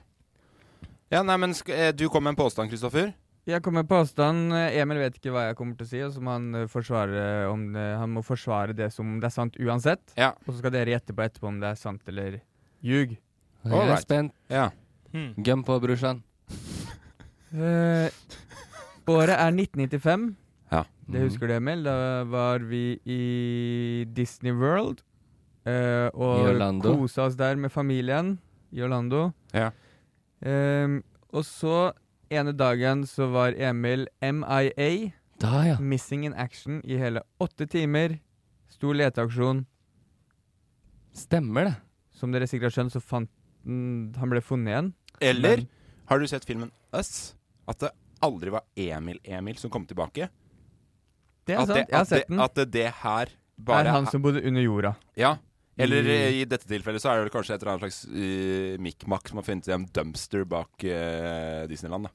B: Ja, nei, men sk eh, Du kom med en påstand, Kristoffer.
E: Jeg kommer med påstand. Emil vet ikke hva jeg kommer til å si, og så må han eh, forsvare, om det, han må forsvare det som det er sant uansett. Og så skal dere gjette på etterpå om det er sant eller ljug.
A: Og Jeg er spent. Gønn på, brorsan.
E: Eh, året er 1995.
B: Ja.
E: Det husker du, Emil. Da var vi i Disney World. eh,
A: I
E: og
A: Orlando.
E: kosa oss der med familien i Orlando.
B: Ja.
E: Eh, og så, ene dagen, så var Emil MIA. Missing in action i hele åtte timer. Stor leteaksjon.
A: Stemmer det.
E: Som dere sikkert har skjønt, så fant den- han ble funnet igjen.
B: Eller har du sett filmen Us? At det aldri var Emil-Emil som kom tilbake.
E: Det er
B: at
E: sant, jeg har
B: at
E: sett den.
B: At det, det her
E: Det
B: bare
E: er han som Mm. bodde under jorda.
B: Ja. Eller
E: I-
B: eh, i dette tilfellet så er det vel kanskje et eller annet slags eh, mikmak som har funnet en dumpster bak eh, Disneyland, da.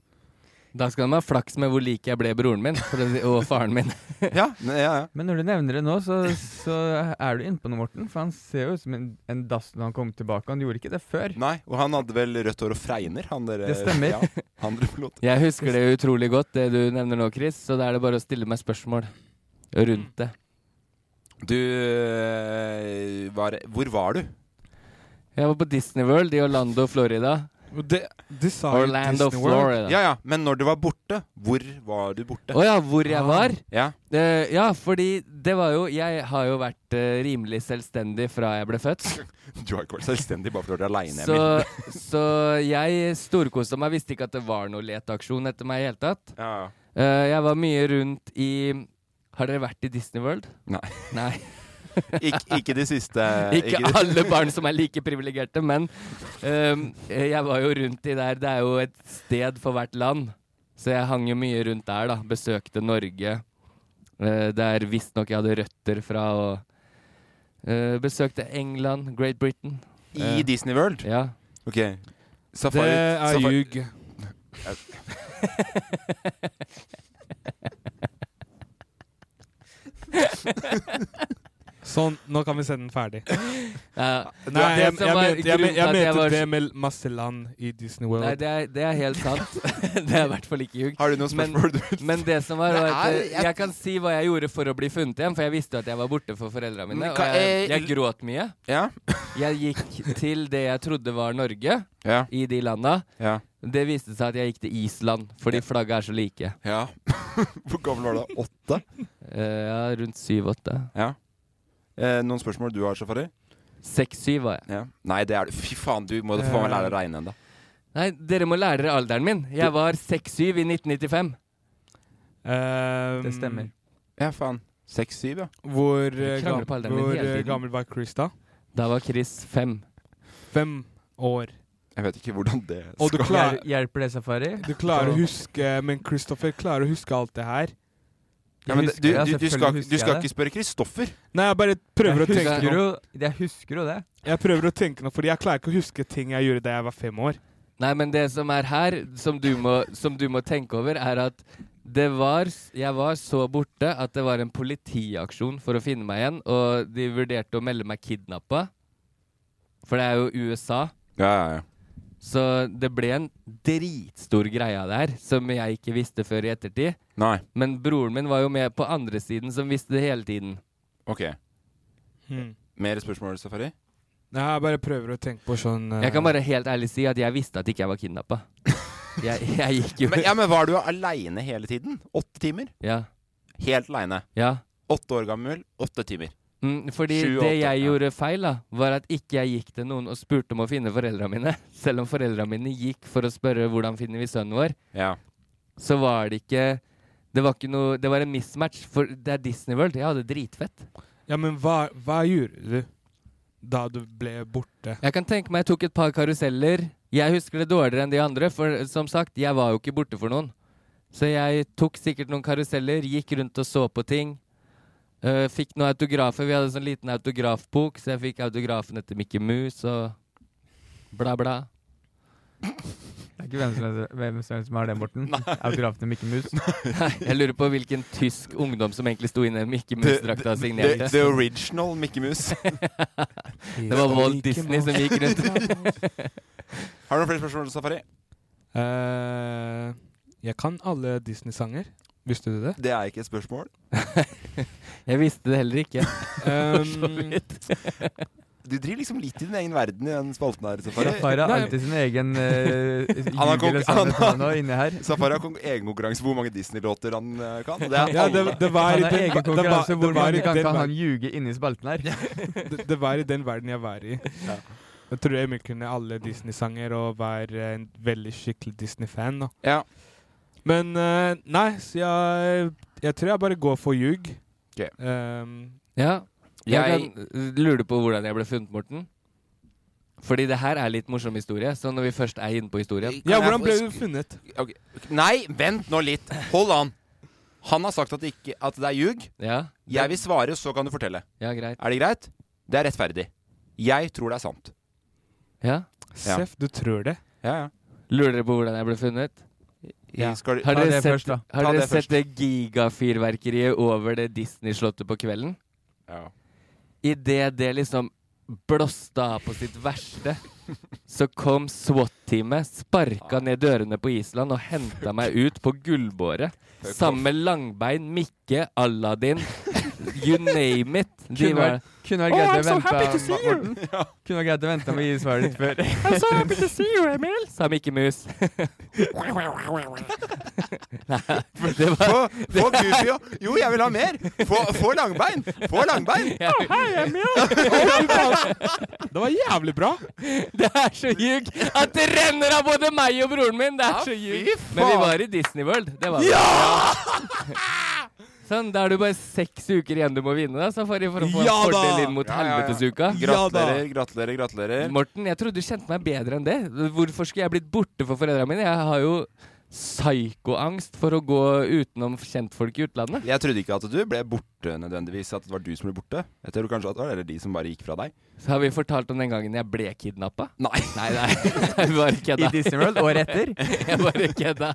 A: Da skal de ha flaks med hvor lik jeg ble broren min for å si- og faren min.
B: *laughs* ja, ja,
E: Men når du nevner det nå, så, så er du inne på noe, Morten. For han ser jo ut som en, en dass når han kom tilbake. Han gjorde ikke det før.
B: Nei, og han hadde vel rødt hår og fregner, han der
E: Det stemmer.
B: Ja, han der pilot.
A: Jeg husker det utrolig godt, det du nevner nå, Chris, så da er det bare å stille meg spørsmål rundt det.
B: *laughs* Du eh, var Hvor var du?
A: Jeg var på Disney World i Orlando, Florida.
C: de sa
A: jo Orlando, Disney World. Florida.
B: Ja, ja, men når du var borte, hvor var du borte?
A: Å ja, hvor jeg var?
B: Ja.
A: Eh, ja, fordi det var jo Jeg har jo vært eh, rimelig selvstendig fra jeg ble født.
B: Du har ikke vært selvstendig bare fordi du er aleine,
A: Så, så jeg storkosa meg. Visste ikke at det var noe leteaksjon etter meg i hele tatt. Eh, jeg var mye rundt i Har dere vært i Disney World?
B: Nei.
A: Nei.
B: Ik- ikke de siste
A: Ikke
B: *laughs* Eh, ikke de-
A: alle barn som er like privilegerte, men ehm, jeg var jo rundt i der. Det er jo et sted for hvert land, så jeg hang jo mye rundt der, da. Besøkte Norge. eh, der visstnok jeg hadde røtter fra, og Eh, besøkte England, Great Britain.
B: I
A: Eh,
B: Disney World?
A: Ja.
B: Ok. Safari
C: Det er
B: safari-
C: ljug. Sånn, nå kan vi se den ferdig.
A: Ja.
C: Nei,
A: Det
C: jeg, jeg,
A: som
C: jeg,
A: var
C: men- jeg, men-
A: grunnen
C: jeg
A: til at jeg
C: mente
A: var-
C: det med masse land i Disney World.
A: Nei, det er, det er helt sant. det er i hvert fall ikke ljug.
B: Har du noen spørsmål
A: Men, men det som var, var at
B: Nei,
A: eh,
B: jeg-
A: jeg kan si hva jeg gjorde for å bli funnet igjen, for jeg visste jo at jeg var borte for foreldra mine.
B: Men
A: Og
B: hva-
A: jeg,
B: eh,
A: jeg gråt mye. Jeg gikk til det jeg trodde var Norge,
B: Ja.
A: i de landa.
B: Ja.
A: Det viste seg at jeg gikk til Island, fordi flagget er så like.
B: Ja. *laughs* Hvor gammel var du? Åtte?
A: Eh, ja, rundt syv-åtte.
B: Ja. Eh, noen spørsmål du har, Safari?
A: Seks-syv var jeg.
B: Ja. Nei, det er du. Fy faen, du må da faen meg lære å regne ennå.
A: Nei, dere må lære dere alderen min. Jeg var seks-syv i 1995.
E: Det stemmer.
B: Ja, faen. Seks-syv, ja.
C: Ehm, Hvor, eh,
A: Jeg krangler på
C: gam
A: alderen min
C: hvor
A: hele
C: eh,
A: tiden.
C: gammel var Chris da?
A: Da var Chris fem.
C: Fem år.
B: Jeg vet ikke hvordan det
C: Og du
B: skal
C: klarer,
E: Hjel- Hjelper det safari?
C: du klarer å huske Men Christopher klarer å huske alt det her.
B: ja, men,
E: husker
B: du,
E: jeg,
B: du, du,
E: selvfølgelig
B: skal,
E: husker
B: du
E: jeg
B: skal
E: det.
B: ikke spørre Kristoffer.
C: Nei, jeg bare prøver å
E: Jeg
C: tenke
E: husker
C: nå.
E: jo, jeg husker jo det.
C: Jeg prøver å tenke nå, fordi jeg klarer ikke å huske ting jeg gjorde da jeg var fem år.
A: Nei, men det som er her, som du må, som du må tenke over, er at det var, jeg var så borte at det var en politiaksjon for å finne meg igjen, og de vurderte å melde meg kidnappa. For det er jo USA.
B: Ja, ja, ja.
A: Så det ble en dritstor greie av det her, som jeg ikke visste før i ettertid.
B: Nei.
A: Men broren min var jo med på andre siden, som visste det hele tiden.
B: Ok. Hmm. Mer spørsmål, Safari?
C: Nei, jeg bare prøver å tenke på sånn eh,
A: Jeg kan bare helt ærlig si at jeg visste at ikke jeg var kidnappa. Jeg, jeg gikk jo
B: Men, ja, men var du aleine hele tiden? Åtte timer?
A: Ja.
B: Helt aleine.
A: ja.
B: Åtte år gammel, åtte timer.
A: Mm, fordi
B: Sju,
A: det
B: åtte,
A: jeg
B: ja.
A: gjorde feil, da, var at ikke jeg gikk til noen og spurte om å finne foreldra mine. *laughs* Selv om foreldra mine gikk for å spørre hvordan finner vi sønnen vår,
B: Ja.
A: så var det ikke Det var ikke noe Det var en mismatch, for det er Disney World. Jeg hadde dritfett.
C: Ja, men hva, hva gjorde du da du ble borte?
A: Jeg kan tenke meg jeg tok et par karuseller. Jeg husker det dårligere enn de andre, for som sagt, jeg var jo ikke borte for noen. Så jeg tok sikkert noen karuseller, gikk rundt og så på ting. Eh, fikk noen autografer. Vi hadde sånn liten autografbok, så jeg fikk autografene til Mickey Mouse og bla, bla.
E: Det er ikke hvem som, helst- hvem som, helst som har det, Morten. Autografen til Mikke Mus.
A: Nei, jeg lurer på hvilken tysk ungdom som egentlig sto inne i Mickey Mouse-drakta og signerte.
B: the original Mickey Mouse.
A: *laughs* Det var Walt Disney som gikk rundt.
B: Har du noen flere spørsmål, Safari?
C: *laughs* Eh, jeg kan alle Disney-sanger. Visste
E: *laughs*
C: du det?
B: Det er ikke et spørsmål.
A: Jeg visste det heller ikke.
C: Um,
B: Du driver liksom litt i din egen verden i den spalten her, Safari.
E: Safari har alltid sin egen uh,
B: har
E: jubel
B: konk-
E: og sannhet
B: han har-
E: nå inne her.
B: Safari har kon- egenkonkurranse på hvor mange Disney-låter han eh, kan. og Det er
C: ja, det,
B: alle.
C: det var i
E: Han har
C: den,
E: egen
C: det var-
E: konkurranse
C: det var
E: hvor
C: i
E: mange ganger
C: den
E: kan
C: verden-
E: han ljuge inni spalten her.
C: *laughs* det, det var i den verden jeg var i. Jeg tror Emil kunne alle Disney-sanger og var en veldig skikkelig Disney-fan. da.
B: Ja.
C: Men eh, nei, så jeg, jeg tror jeg bare går for ljug.
B: Ok.
C: Um,
A: Ja. Jeg
B: Jeg-
A: kan lure på hvordan jeg ble funnet, Morten. Fordi det her er litt morsom historie, så når vi først er inne på historien
B: Kan
C: ja,
B: jeg
C: hvordan
B: få
C: ble
B: sk-
C: du funnet?
B: Ok. Nei, vent nå litt. Hold an. Han har sagt at det, ikke, at det er ljug.
A: Ja,
B: Jeg vil svare, så kan du fortelle.
A: ja greit.
B: Er det greit? Det er rettferdig. Jeg tror det er sant.
A: Ja.
B: Ja.
C: Seff, du tror det?
B: Ja, ja.
A: Lurer dere på hvordan jeg ble funnet?
B: I- Skal du,
A: Har
E: Ta
A: dere
E: det
A: sett,
E: først, da.
A: har
B: Ta
A: dere
B: det
A: sett
B: først.
A: det gigafyrverkeriet over det Disney-slottet på kvelden?
B: ja.
A: Idet det liksom blåste av på sitt verste, så kom SWAT-teamet, sparka ned dørene på Island og henta meg ut på gullbåret. Sammen med Langbein, Mikke, Aladdin, you name it. De
E: Kunne
A: var
E: vært, kunne vært
A: Oh,
E: greit
A: I'm
E: å
A: so
E: vente
A: happy to see you.
E: Morten. Kunne vært greit å vente med å gi svaret ditt før.
A: I'm so happy to see you, Emil! sa
E: *laughs*
A: Mikke Mus. Nei, det var
B: Få, få Goofy og Jo, jeg vil ha mer! Få, få langbein! Få langbein!
C: *laughs* Det var jævlig bra!
A: *laughs* Det er så ljug at det renner av både meg og broren min! Det er så
B: fy
A: ljug.
B: faen.
A: Men vi var i Disney World. Det var vi. *laughs* Sånn, Da er det bare seks uker igjen du må vinne, da, Safari, for å få
C: Ja
A: en
C: da!
A: fordel inn mot
B: ja, ja.
A: helvetesuka.
C: Ja da.
B: Gratulerer, gratulerer, gratulerer.
A: Morten, jeg trodde du kjente meg bedre enn det. Hvorfor skulle jeg blitt borte for foreldra mine? Jeg har jo psykoangst for å gå utenom kjentfolk i utlandet?
B: Jeg trodde ikke at du ble borte nødvendigvis, at det var du som ble borte. Jeg tror kanskje at det var heller de som bare gikk fra deg.
A: Så har vi fortalt om den gangen jeg ble kidnappa?
B: Nei.
A: *laughs* Nei, nei. Jeg bare kødda.
B: I Disney World, året etter?
A: *laughs* Jeg bare kødda.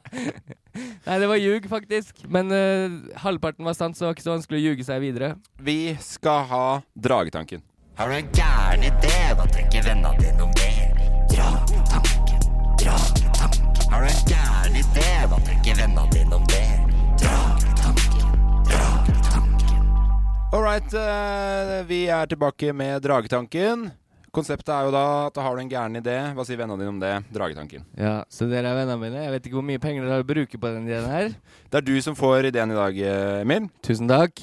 A: Nei, det var ljug, faktisk. Men eh, halvparten var sant, så det var ikke så vanskelig å ljuge seg videre.
B: Vi skal ha Dragetanken.
I: Har du en gæren idé, da tenker vennene dine om det. Dragetanken, dragetanken. Har du en gæren idé, da tenker vennene dine om det. Dragetanken, dragetanken.
B: All right, eh, vi er tilbake med Dragetanken. Konseptet er jo da at har du en gæren idé, hva sier vennene dine om det? Dragetanken.
A: Ja, Så dere er vennene mine. Jeg vet ikke hvor mye penger dere har å bruke på den ideen her.
B: Det er du som får ideen i dag, eh, Emil.
A: Tusen takk.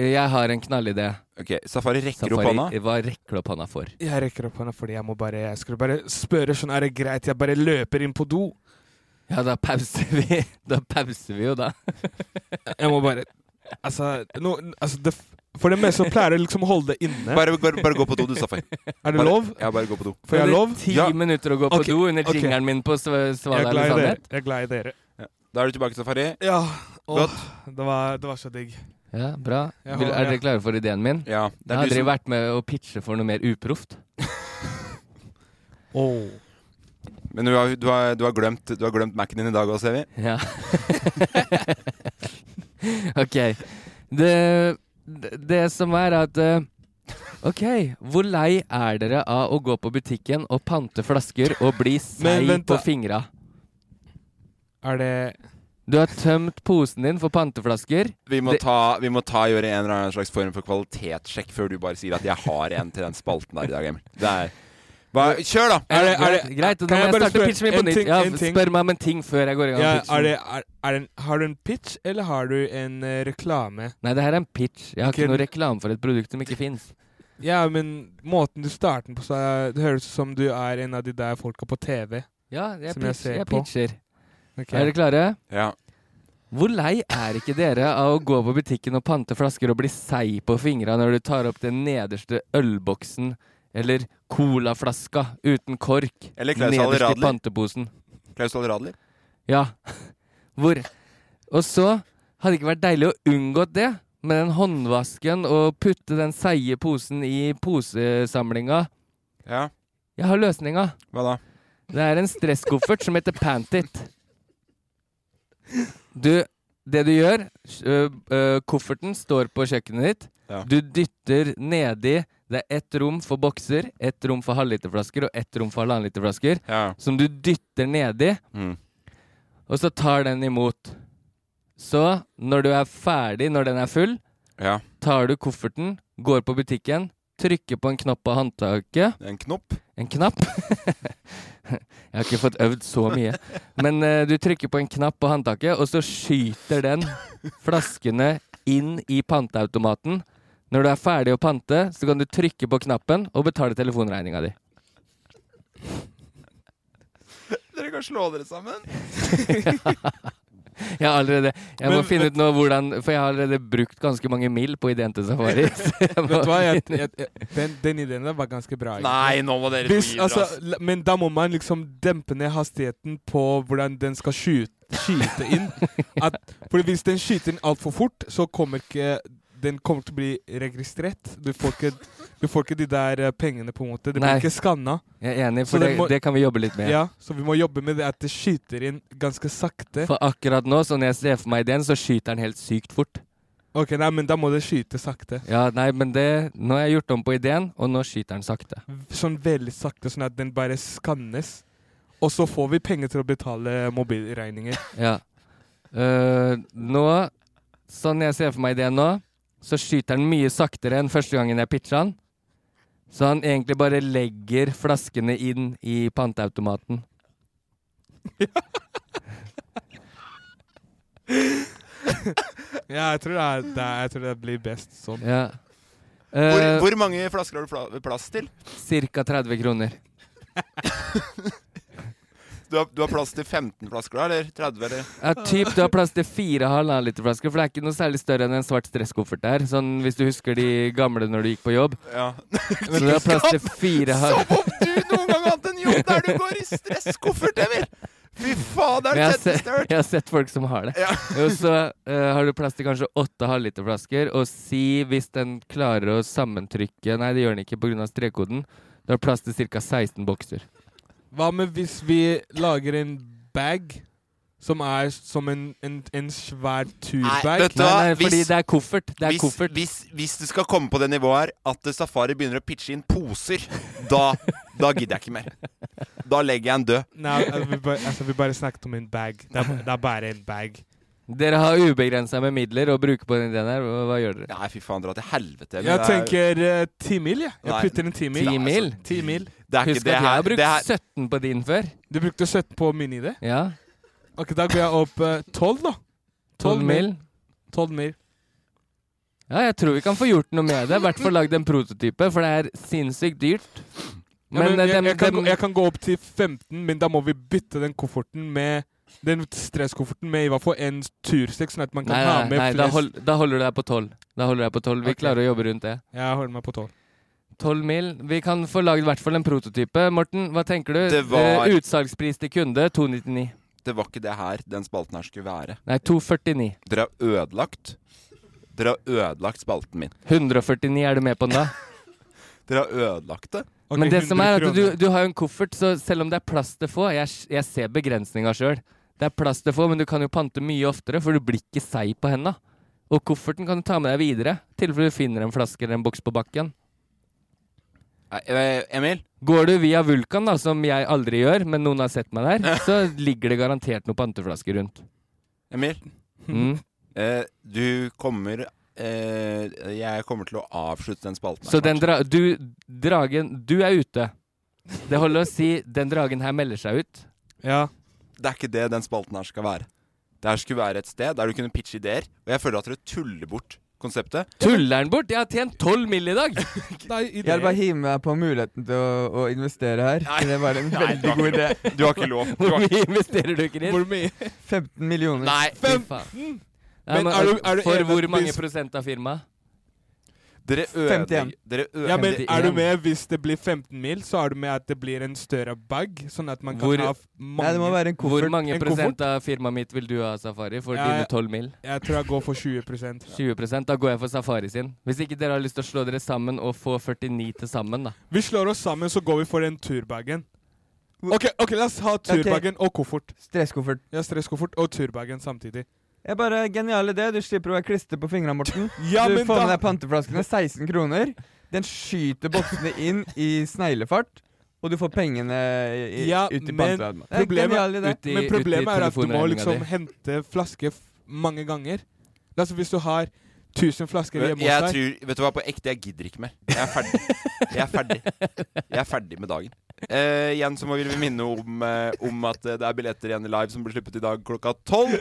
A: Jeg har en knallidé.
B: Ok, Safari rekker opp hånda.
A: Hva rekker du opp hånda for?
C: Jeg rekker opp hånda fordi jeg må bare Jeg skulle bare spørre sånn Er det greit? Jeg bare løper inn på do.
A: Ja, da pauser vi. *laughs* Da pauser vi jo, da.
C: *laughs* Jeg må bare Altså, no, altså det, For det meste så pleier jeg liksom å holde det inne.
B: Bare, bare, bare gå på do, du, Safari.
C: *laughs* Er det
B: Bare-
C: lov?
B: Ja, bare gå på do.
C: Får jeg lov?
A: Ti minutter å gå på
C: Ok,
A: do under
C: ok.
A: jingeren min på Sv-
C: Jeg
A: Svalbard
C: er glad i dere.
A: sannhet.
C: Jeg er glad i dere.
B: Da er du tilbake, Safari.
C: Ja. Åh,
B: Godt.
C: det var, det var så digg.
A: Ja, bra.
C: Jeg
A: Vil,
C: holder
A: er dere
C: med.
A: klare for ideen min?
B: Ja, det er
A: Jeg har
B: du
A: aldri
B: som-
A: vært med å pitche for noe mer
C: *laughs*
A: uproft.
C: Åh.
B: Men du har, du, har, du, har glemt, du har glemt Mac-en din i dag òg, ser vi.
A: Ja. *laughs* ok. Det, det det som er at eh, Ok, hvor lei er dere av å gå på butikken og pante flasker og bli
C: *laughs* Men
A: seig
C: vent
A: på
C: da.
A: fingra?
C: Er det
A: Du har tømt posen din for panteflasker.
B: Vi må,
A: Det-
B: ta, vi må ta gjøre en eller annen slags form for kvalitetssjekk før du bare sier at 'jeg har en til den spalten der i dag', Emil. Det er Bare, kjør, da!
C: Er det, er det,
A: Greit, greit,
C: Kan
A: da må
C: jeg
A: jeg
C: bare
A: starte
C: spørre
A: pitchen min
C: en
A: på nytt.
C: ting-
A: Ja,
C: en ting?
A: spør meg om en ting før jeg går i gang
C: ja,
A: med pitchen.
C: er det er, er det en, Har du en pitch, eller har du en eh, reklame?
A: Nei, det her er en pitch. Jeg har
C: Ikke
A: ikke
C: en-
A: noe reklame for et produkt som ikke fins.
C: Ja, men måten du starter den på, så er, det høres ut som du er en av de der folka på TV.
A: Ja, jeg,
C: Som jeg
A: pitch,
C: ser
A: jeg
C: på.
A: pitcher.
C: Ok.
A: Er dere klare?
B: Ja.
A: Hvor lei er ikke dere av å gå på butikken og pante flasker og bli seig på fingra når du tar opp den nederste ølboksen eller colaflaska uten kork
B: Eller Klaus
A: nederst i
B: Alradli.
A: panteposen?
B: Klaus Dahl Radler.
A: Ja. *laughs* Hvor Og så hadde det ikke vært deilig å unngå det med den håndvasken og putte den seige posen i posesamlinga.
B: Ja,
A: Jeg har løsninga.
B: hva da?
A: Det er en stresskoffert som heter Pantit. Du, det du gjør ø, ø, Kofferten står på kjøkkenet ditt.
B: Ja.
A: Du dytter nedi Det er ett rom for bokser, ett rom for halvliterflasker og ett rom for halvannenliterflasker.
B: Ja.
A: Som du dytter nedi,
B: Mm.
A: og så tar den imot. Så, når du er ferdig, når den er full,
B: Ja.
A: tar du kofferten, går på butikken, trykker på en knapp på håndtaket
B: En knopp?
A: en knapp. *laughs* Jeg har ikke fått øvd så mye. Men eh, du trykker på en knapp på håndtaket, og så skyter den flaskene inn i panteautomaten. Når du er ferdig å pante, så kan du trykke på knappen og betale telefonregninga di.
B: Dere kan slå dere sammen.
A: Jeg har allerede Jeg må
C: Men-
A: finne ut nå hvordan For jeg har allerede brukt ganske mange mil på ideen til Safari. så jeg må
C: Vet du hva, jeg, *laughs*
A: finne-
C: jeg, jeg, den, den ideen der var ganske bra. egentlig.
B: Nei, nå må dere
C: Hvis,
B: bidra.
C: altså,
B: ass.
C: la- men da må man liksom dempe ned hastigheten på hvordan den skal skyte, skyte inn.
A: *laughs*
C: At, for hvis den skyter inn altfor fort, så kommer ikke den kommer til å bli registrert. Du får ikke, du får ikke de der eh, pengene, på en måte. Det blir
A: Nei.
C: ikke skanna.
A: Jeg er enig,
C: Så
A: for det,
C: det må-
A: det kan vi jobbe litt med.
C: Ja, så vi må jobbe med det at det skyter inn ganske sakte.
A: For akkurat nå, så når jeg ser for meg ideen, så skyter den helt sykt fort.
C: Ok, nei, men da må det skyte sakte.
A: Ja, nei, men det Nå har jeg gjort om på ideen, og nå skyter den sakte.
C: Sånn veldig sakte, sånn at den bare skannes. Og så får vi penger til å betale mobilregninger.
A: Ja. Eh, nå Sånn jeg ser for meg ideen nå, så skyter den mye saktere enn første gangen jeg pitcha den. Så han egentlig bare legger flaskene inn i panteautomaten.
C: Ja, jeg tror det, er, det, er- jeg tror det blir best sånn.
A: Ja.
B: Hvor,
A: Uh,
B: hvor mange flasker har du pla- plass til?
A: Ca. 30 kroner.
B: Du har, du har plass til 15 flasker da, eller 30? Eller?
A: Ja, typ Du har plass til fire halvannenliterflasker, for det er ikke noe særlig større enn en svart stresskoffert der. Sånn hvis du husker de gamle når du gikk på jobb.
B: Ja.
A: Så du har plass til fire halv...
B: Som om du noen gang har hatt en jobb der du går i stresskoffert, Emil! Fy faen, det
A: Men
B: er
A: jeg, har
B: tettest
A: se- jeg har sett folk som har det. *laughs* Og så eh, har du plass til kanskje åtte halvliterflasker, og si hvis den klarer å sammentrykke Nei, det gjør den ikke pga. strekkoden. Du har plass til ca. 16 bokser.
C: Hva med hvis vi lager en bag som er som en, en, en svær turbag?
B: vet du hva? Hvis-
A: koffert.
C: Det er
B: hvis, Hvis, hvis du skal komme på det nivået her at Safari begynner å pitche inn poser, da, da gidder jeg ikke mer. Da legger jeg en død.
C: Nei, altså, vi, bare, altså, vi bare snakket om en bag. Det er, det er bare en bag.
A: Dere har ubegrensa med midler å bruke på den ideen her. Hva, hva gjør dere?
B: Nei, fy faen, dra til helvete.
C: Jeg tenker eh, ti mil, jeg. Jeg
A: Nei.
C: putter en ti mil.
A: Ti mil?
C: Ti mil.
B: Det er ikke
A: Husk at
B: det
A: jeg har
B: her- det her-
A: brukt 17 på din før.
C: Du brukte 17 på min idé?
A: Ja.
C: Ok, da går jeg opp eh, 12, da.
A: 12 mil.
C: 12 mil.
A: Ja, jeg tror vi kan få gjort noe med det. I hvert fall lagd en prototype, for det er sinnssykt dyrt.
C: Ja, men
A: eh,
C: jeg,
A: dem-
C: jeg, kan,
A: dem-
C: gå- jeg kan gå opp til 15, men da må vi bytte den kofferten med den stresskofferten med i hvert fall en tursekk, sånn at man kan
A: Nei,
C: ha
A: nei,
C: med
A: nei da,
C: flest.
A: hold, da holder du deg på 12. Da holder du deg på 12. Vi
C: Ok.
A: klarer å jobbe rundt det.
C: Jeg holder meg på 12.
A: 12 mil. Vi kan få lagd i hvert fall en prototype. Morten, hva tenker du?
B: Det var-
A: Eh, Utsalgspris til kunde 299.
B: Det var ikke det her den spalten her skulle være.
A: Nei, 249.
B: Dere har ødelagt Dere har ødelagt spalten min.
A: 149 er du med på den da?
B: Dere har ødelagt det.
A: Men det som er at du, du har jo en koffert, så selv om det er plass til få Jeg, jeg ser begrensninga sjøl. Det er plass til få, men du kan jo pante mye oftere, for du blir ikke seig på henda. Og kofferten kan du ta med deg videre, i tilfelle du finner en flaske eller en boks på bakken.
B: Nei, eh, Emil?
A: Går du via Vulkan, da, som jeg aldri gjør, men noen har sett
C: *laughs*
A: meg der, så ligger det garantert noen panteflasker rundt.
B: Emil?
C: Hmm.
A: Mm.
B: Eh, du kommer eh, Jeg kommer til å avslutte den spalten. her
A: Så den dra
B: snart.
A: du, dragen Du er ute. Det holder å si 'den dragen her melder seg ut'.
C: Ja.
B: Det er ikke det den spalten her skal være. Det her skulle være et sted der du kunne pitche ideer, og jeg føler at dere tuller bort konseptet.
A: Tuller den bort? Jeg har tjent 12 mill. i dag!
E: Jeg vil bare hive meg på muligheten til å, å investere her. Det var en
A: Nei,
E: veldig
A: du har
E: god
A: ikke-
E: idé.
A: du har ikke *laughs* lov. Du har- Hvor mye investerer du, Chris? Hvor mye?
E: 15 millioner.
A: Nei, fy faen. Ja, men,
C: er du- er du
A: for
C: enig
A: hvor
C: at
A: mange
C: hvis-
A: prosent av firmaet?
B: Dere ødelegger dere
C: Ja, men
B: ødelegger-
C: er du med hvis det blir 15 mil, så er du med at det blir en større bag, sånn at man kan
A: Hvor-
C: ha f- mange
A: Hvor mange
C: en koffert?
A: prosent av firmaet mitt vil du ha, Safari, for
C: Ja,
A: dine
C: jeg-
A: 12 mill.?
C: Jeg tror jeg går for 20
A: 20 prosent, Da går jeg for Safari sin. Hvis ikke dere har lyst til å slå dere sammen og få 49 til sammen, da.
C: Vi slår oss sammen, så går vi for den turbagen. Ok, ok, la oss ha turbagen og koffert.
E: Stresskoffert.
C: Ja, stresskoffert og turbagen samtidig.
E: Jeg bare Genial idé. Du slipper å være klister på fingrene, Morten.
C: *laughs* Ja,
E: du
C: men
E: får
C: da-
E: med deg panteflaskene. 16 kroner. Den skyter boksene inn i sneglefart. Og du får pengene i, i,
C: Ja,
E: ut i
C: men
E: panteautomaten. Det er en genial idé.
C: problemet, men problemet er at du må liksom hente flasker f- mange ganger. Altså hvis du har 1000 flasker
B: Jeg
C: hjemme hos deg
B: tror, vet du hva, på ekte, jeg gidder ikke mer. Jeg er ferdig. Jeg er ferdig, jeg er ferdig med dagen. Eh, igjen så må vi minne om, eh, om at eh, det er billetter igjen i live som blir sluppet i dag klokka tolv.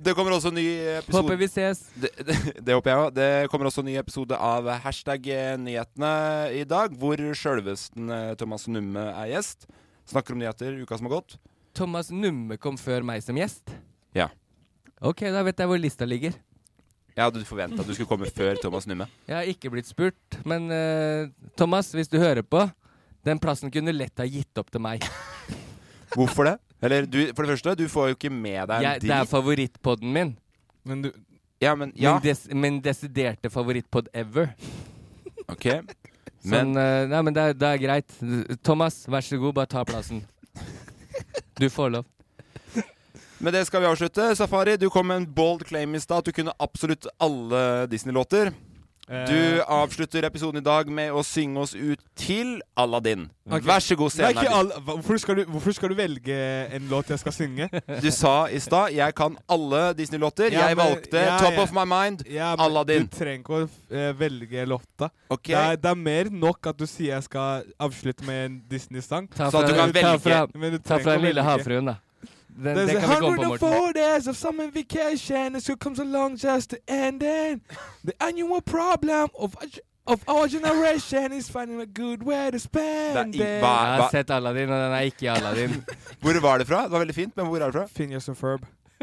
B: Det kommer også en ny eh, episode
A: Håper vi ses.
B: Det, det, det håper jeg òg. Det kommer også en ny episode av Hashtag eh, nyhetene i dag, hvor sjølvesten eh, Thomas Numme er gjest. Snakker om nyheter, uka som har gått.
A: Thomas Numme kom før meg som gjest.
B: Ja.
A: Ok, da vet jeg hvor lista ligger.
B: Jeg hadde forventa at du skulle komme før Thomas Numme.
A: Jeg har ikke blitt spurt, men eh, Thomas, hvis du hører på, den plassen kunne du lett ha gitt opp til meg.
B: Hvorfor det? Eller du, for det første, du får jo ikke med deg en
A: Jeg, det er
B: drit.
A: favorittpodden min.
C: Men du
B: Ja, men ja.
A: Min, des, min desiderte favorittpod ever.
B: Ok.
A: Men, eh, nei, men det, er, det er greit. Thomas, vær så god, bare ta plassen. Du får lov.
B: Med det skal vi avslutte. Safari, du kom med en bold claim i stad at du kunne absolutt alle Disney-låter.
C: eh,
B: Du avslutter episoden i dag med å synge oss ut til Aladdin.
C: Ok.
B: Vær så god,
C: Nei,
B: scenen
C: ikke
B: er
C: alle- hva- hvorfor, skal du, hvorfor skal du velge en låt jeg skal synge?
A: *laughs*
B: din. Du sa i stad 'jeg kan alle Disney-låter'.
C: Ja,
B: jeg
C: men-
B: valgte
C: ja,
B: 'Top
C: ja.
B: of my mind'.
C: Ja, men
B: Aladdin.
C: Du trenger ikke å eh, velge låta.
B: Ok.
C: Det, er, det er mer nok at du sier jeg skal avslutte med en Disney-sang.
A: Ta fra, ta fra,
C: Men du trenger
A: ta fra
C: ikke å
A: den lille
C: velge.
A: havfruen, da. Den,
C: There's
A: det
C: a
A: kan vi komme
C: hundred
A: på,
C: and
A: Morten.
C: four days of summer vacation and so comes along just to end it. The annual problem of, of our generation is finding a good way to spend
B: Det er i-
C: it.
B: hva-
A: Jeg har sett Aladdin, og den er ikke i Aladdin.
B: Hvor var det fra? Det var veldig fint, men hvor er det fra?
C: Phineas and Ferb.
A: *laughs*
C: *laughs*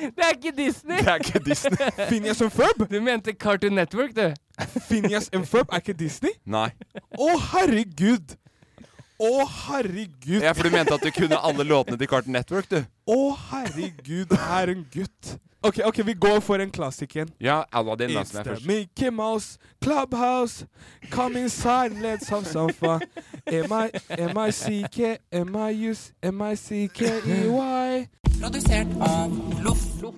A: Det er ikke Disney!
B: Det er ikke Disney.
C: Phineas and Ferb?
A: Du mente Cartoon Network, du.
C: Phineas and Ferb er ikke Disney?
B: Nei.
C: Å, herregud! Å, herregud!
B: Ja, for du mente at du kunne alle låtene til Carton Network, du.
C: Å, herregud, det er en gutt. Ok, ok, vi går for en klassisk igjen.
B: Ja, Aladdin, da,
C: It's
B: som er
C: the
B: først.
C: Mickey Mouse Clubhouse. Come inside, let's have some fun. M-I-C-K, M-I-U-S, M-I-C-K-E-Y.
I: Produsert av Loff.